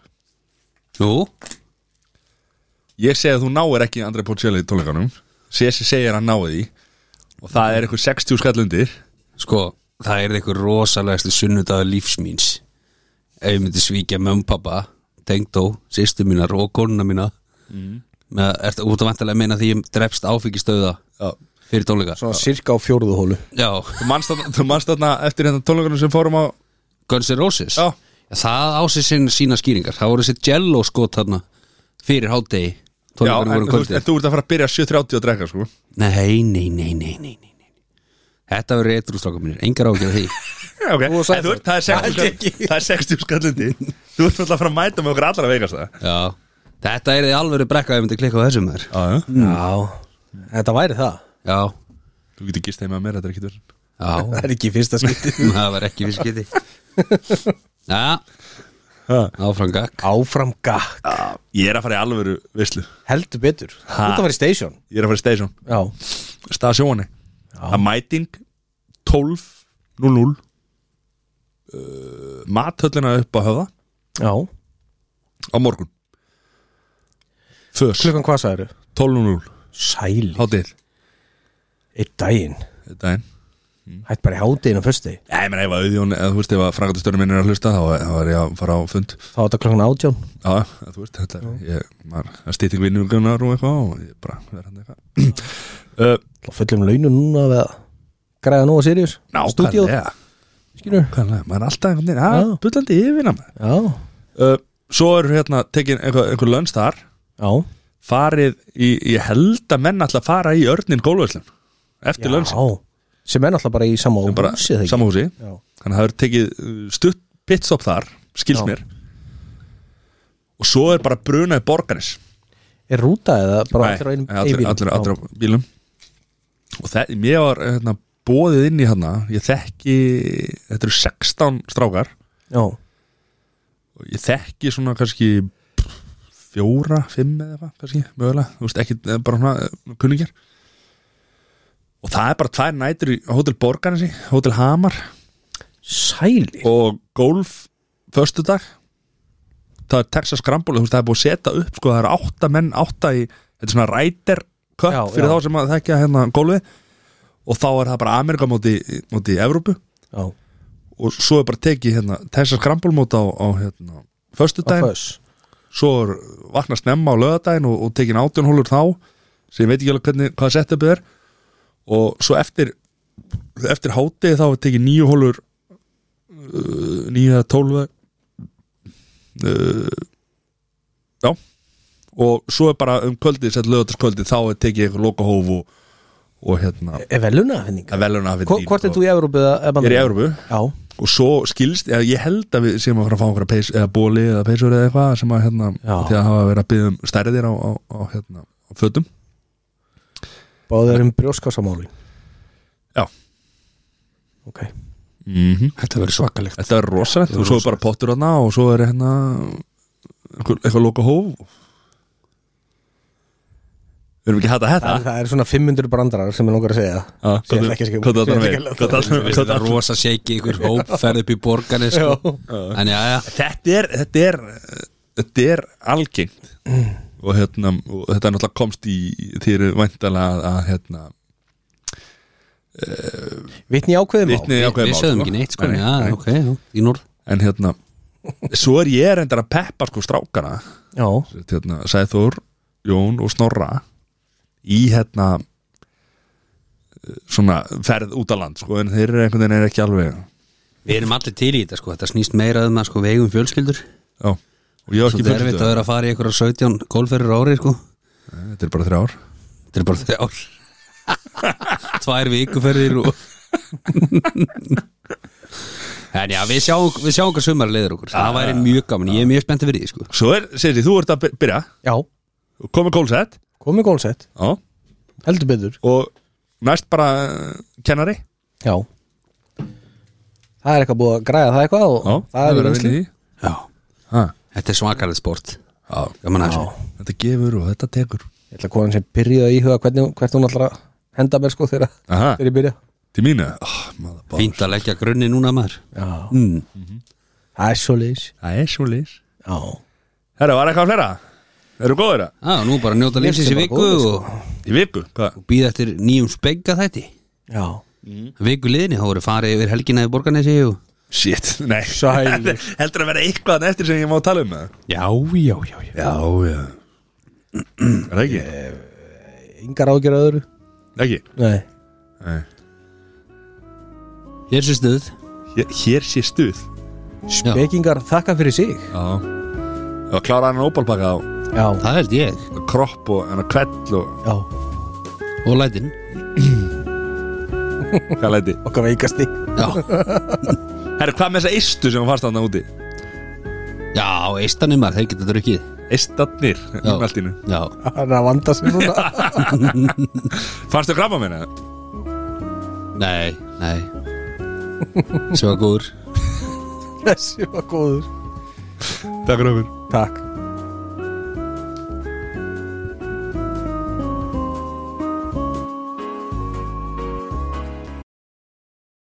S3: Jú,
S1: Ég segi að þú náir ekki Andra Bocelli í tónleikanum César segir að hann náði því Og það er eitthvað 60 skallundir
S3: sko, það er eitthvað rosalegasti sunnudagur lífsmýns Ef ég myndi svíkja mömmu pappa Tengdó, sýstu mínar og konuna mína
S1: Mm.
S3: með, Ertu út að vantilega meina því ég drefst áfengistöða
S1: Já.
S3: Fyrir tónleika
S2: Svona cirka á fjórðu hólu
S3: Já,
S1: Þú manst þarna- Þú manst þarna eftir hérna tónleikanum sem fórum á
S3: Guns N' Roses
S1: Já.
S3: Það á sig sinna sína skýringar Það voru þessi jello skot þarna Fyrir hádegi
S1: Já, en,
S3: Tónleikarnir voru um
S1: þú, veist,
S3: kvöldið.
S1: en þú ert að fara að byrja 7.30 að drekka sko
S3: Nei, nei, nei, nei, nei, nei. nei. Þetta verður eitthvað stráka mínir, engar ágjörð því
S1: Já, okay. þú en, þú, ert- það, er 60 skall- það er 60 skallindi Þú ert náttúrulega að fara að mæta með okkur allra veikast það
S3: Já Þetta er því alveg brekka ef ég myndi klikka á þessum maður
S1: Já, já
S2: Mm. Já Þetta væri það
S3: Já,
S1: Þú getur gist heima að mér, þetta er ekkit verið
S3: já,
S2: Það er ekki í fyrsta skipti
S3: það var ekki viskiti Já, áfram gakk
S2: Áfram gakk
S1: Ég er að fara í alvöru veislu Ég
S2: Heldur betur Þú ert að fara í station
S1: er að fara í station
S2: Já
S1: Stasjóni Það er mæting 12.00 uh, Mathöllina upp að höfða
S2: Já
S1: Á morgun Föss
S2: Klukkan hvað sagðir
S1: 12.00
S2: Sæli
S1: Hátíð
S2: Eitt daginn
S1: Þetta er
S2: Hætt bara í hátíðin á föstu
S1: Já, ég meina ef að auðjón Eða þú veist ef að frangatastörnum minn er að hlusta Þá þá er ég að fara á fund
S2: Þá er þetta klukkan átján
S1: Já, já, þú veist, þetta er ég, maður, að stýting vinnugunar og eitthvað og ég bara verð hann eitthvað uh,
S2: Þá fullum launum núna við að Græða nú á Sirius Stúdíó
S1: Nákvæmlega,
S2: Skilur
S1: nákvæmlega, maður er alltaf einhvern veginn, að,
S2: Já.
S1: bullandi yfirna maður
S2: Já
S1: uh, Svo eru hérna tekin einhver, einhver lönns þar
S2: Já
S1: farið í, ég held að menn alltaf fara í örnin gólvöslun eftir
S2: Já.
S1: lönns
S2: Sem er náttúrulega bara í sama húsi eða ekki?
S1: samhúsi
S2: Já.
S1: þannig að það eru tekið uh, stutt pitstop þar, skils
S2: Já.
S1: mér og svo er bara brunaði borgaris
S2: Er rúta eða bara
S1: Nei,
S2: allir á einum
S1: nei, allir,
S2: einum bíl?
S1: allir,
S2: Já.
S1: allir á bílum og það, mér var hérna, bóðið inn í hann ég þekki, þetta eru 16 strákar
S2: Já,
S1: og ég þekki svona kannski pff, fjóra, fimm eða eitthvað kannski, mögulega, þú veist ekki eh, bara svona eh, kunningjar og það er bara tvær nætur í Hotel Borgarnesi, Hotel Hamar
S2: sæli
S1: og golf föstudag það er Texas Scramble, þú veist það er búið að setja upp sko, það eru átta menn, átta í þetta er svona ræter köpp
S2: Já,
S1: fyrir
S2: já.
S1: þá sem að þekja hérna golfið og þá er það bara Amerika móti, móti Evrópu
S2: Já,
S1: og svo er bara tekið hérna Texas Scramble móti á, á hérna föstudaginn
S2: föss
S1: svo er vakna snemma á lögadaginn og, og tekin átjónhólur þá sem ég veit ekki alveg hvernig, hvað setupið er og svo eftir eftir hátegi þá er tekin nýju hólur uh, nýju eða tólfu uh, já og svo er bara um kvöldið sett lögadagskvöldið þá er tekið eitthvað lokahóf og, og hérna
S2: Er veluna finning?
S1: velun að
S2: Eh, Hvort er þú í Evrópu?
S1: Ég er í Evrópu
S2: Já,
S1: og svo skilst, eða ég held að við séum að fara að fá einhverja peys, eða bóli eða peysur eða eitthvað sem að hérna,
S2: Já.
S1: því að hafa verið að byggja um stærðir á, á, á hérna, á fötum
S2: báður um brjóskassamáli
S1: Já.
S2: Ok
S1: mm
S3: Þetta verður svakalegt
S1: Þetta er rosalegt og svo er bara pottur hana og svo er hérna einhver, eitthvað loka hóf Við erum ekki að hætta þetta
S2: Það, það er svona 500 brandarar sem ég langar að segja
S1: Ah,
S2: Sem ég
S1: hvað-
S2: ætla ekki að skrifa.
S1: Hvað það
S2: Ég ætla
S1: er
S2: ekki að láta
S1: það
S3: Þetta
S1: með
S3: verður rosa seiki ykkur hóp ferð upp í borganis sko. En já, já,
S1: Þetta er þetta er, þetta er algengt
S2: Mm.
S1: og, hérna, og þetta er náttúrulega komst í þýri væntalega að, að hérna,
S2: Vitni í ákveðum á
S1: vitni í ákveðum
S3: við
S1: mál,
S3: sögðum
S1: sko.
S3: ekki neitt sko
S1: Nei,
S3: Já,
S1: nei.
S3: ok, já, í núr
S1: en hérna svo er ég reyndar að peppa sko strákana
S2: Já,
S1: hérna, Sæþór, Jón og Snorra í hérna eh, svona ferð út á land sko en þeir eru einhvern veginn er ekki alveg
S3: Við erum allir til í þetta sko, þetta snýst meira um að sko vegum fjölskyldur
S1: já og ég er
S3: Svo
S1: ekki
S3: þetta er erfitt að
S1: fjölskyldu
S3: vera að fara í ykkur 17 golferir ári sko
S1: þetta er bara þrjá ár
S3: Þetta er bara þrjár Tvær vikuferðir og En já, við sjáum, við sjáum hvað sumar leiður okkur Það væri mjög gaman, ég er mjög spennt fyrir því sko
S1: svo er, segir þú ert að by- byrja
S2: já,
S1: komið kólsett
S2: komið gólsett
S1: já
S2: Heldur betur
S1: og næst bara eh, kennari
S2: Já Það er eitthvað búið að græða það eitthvað og
S1: já
S2: það er
S1: verið að vinna
S2: vinsli
S1: í því.
S3: Já,
S1: Ha,
S3: þetta er svakarlega sport
S1: já
S3: Gaman að þessu
S1: þetta gefur og þetta tekur
S2: Ég ætla að konan sem byrjaði að íhuga hvernig, hvert hún allra henda mér sko þegar
S1: aha
S2: þegar ég byrja
S1: til mínu oh, maður, bara.
S3: Fínt að leggja grunni núna maður
S2: Já,
S3: mm.
S2: það er svo leis
S1: það er svo lýs
S2: Já,
S1: herra var eitthvað fleira eru góður það
S3: Já, nú bara njóta
S2: Mér finnst
S3: lífsins í
S2: þetta
S3: viku
S2: bara góður, sko.
S3: og
S1: í viku hvað
S3: býða eftir nýjum spegga þætti
S2: já
S3: Viku liðinni, þá voru farið yfir helgina í borgarnesi og...
S1: Shit, nei
S2: Sælir.
S1: Heldur að vera eitthvað þarna eftir sem ég má tala um það
S3: Já, já, já, já
S1: Já, já Er það ekki?
S2: Engar ágjör öðru
S1: Ekki?
S2: Nei
S1: Nei
S3: Hér sem stuð
S1: Hér, hér sé stuð
S3: Já,
S2: Bekingar þakka fyrir sig
S1: Já Og klára hann óbálpaka á
S2: Já,
S3: það held ég
S1: kropp og hann að kvell og
S2: já,
S3: Og lætin
S1: hvað læti
S2: okkar veikasti
S3: Já,
S1: Herru, hvað með þessa eistu sem hann fannst hann úti?
S3: já eistanumar, þeir geta drukkið
S1: Eistatnir
S3: Já.
S1: um allt í nú
S3: Já,
S2: Hann er að vanda sig núna
S1: Fannst þau krabba minna?
S3: nei, nei Svo góður
S2: Þessi var góður
S1: Takk fyrir okkur
S2: Takk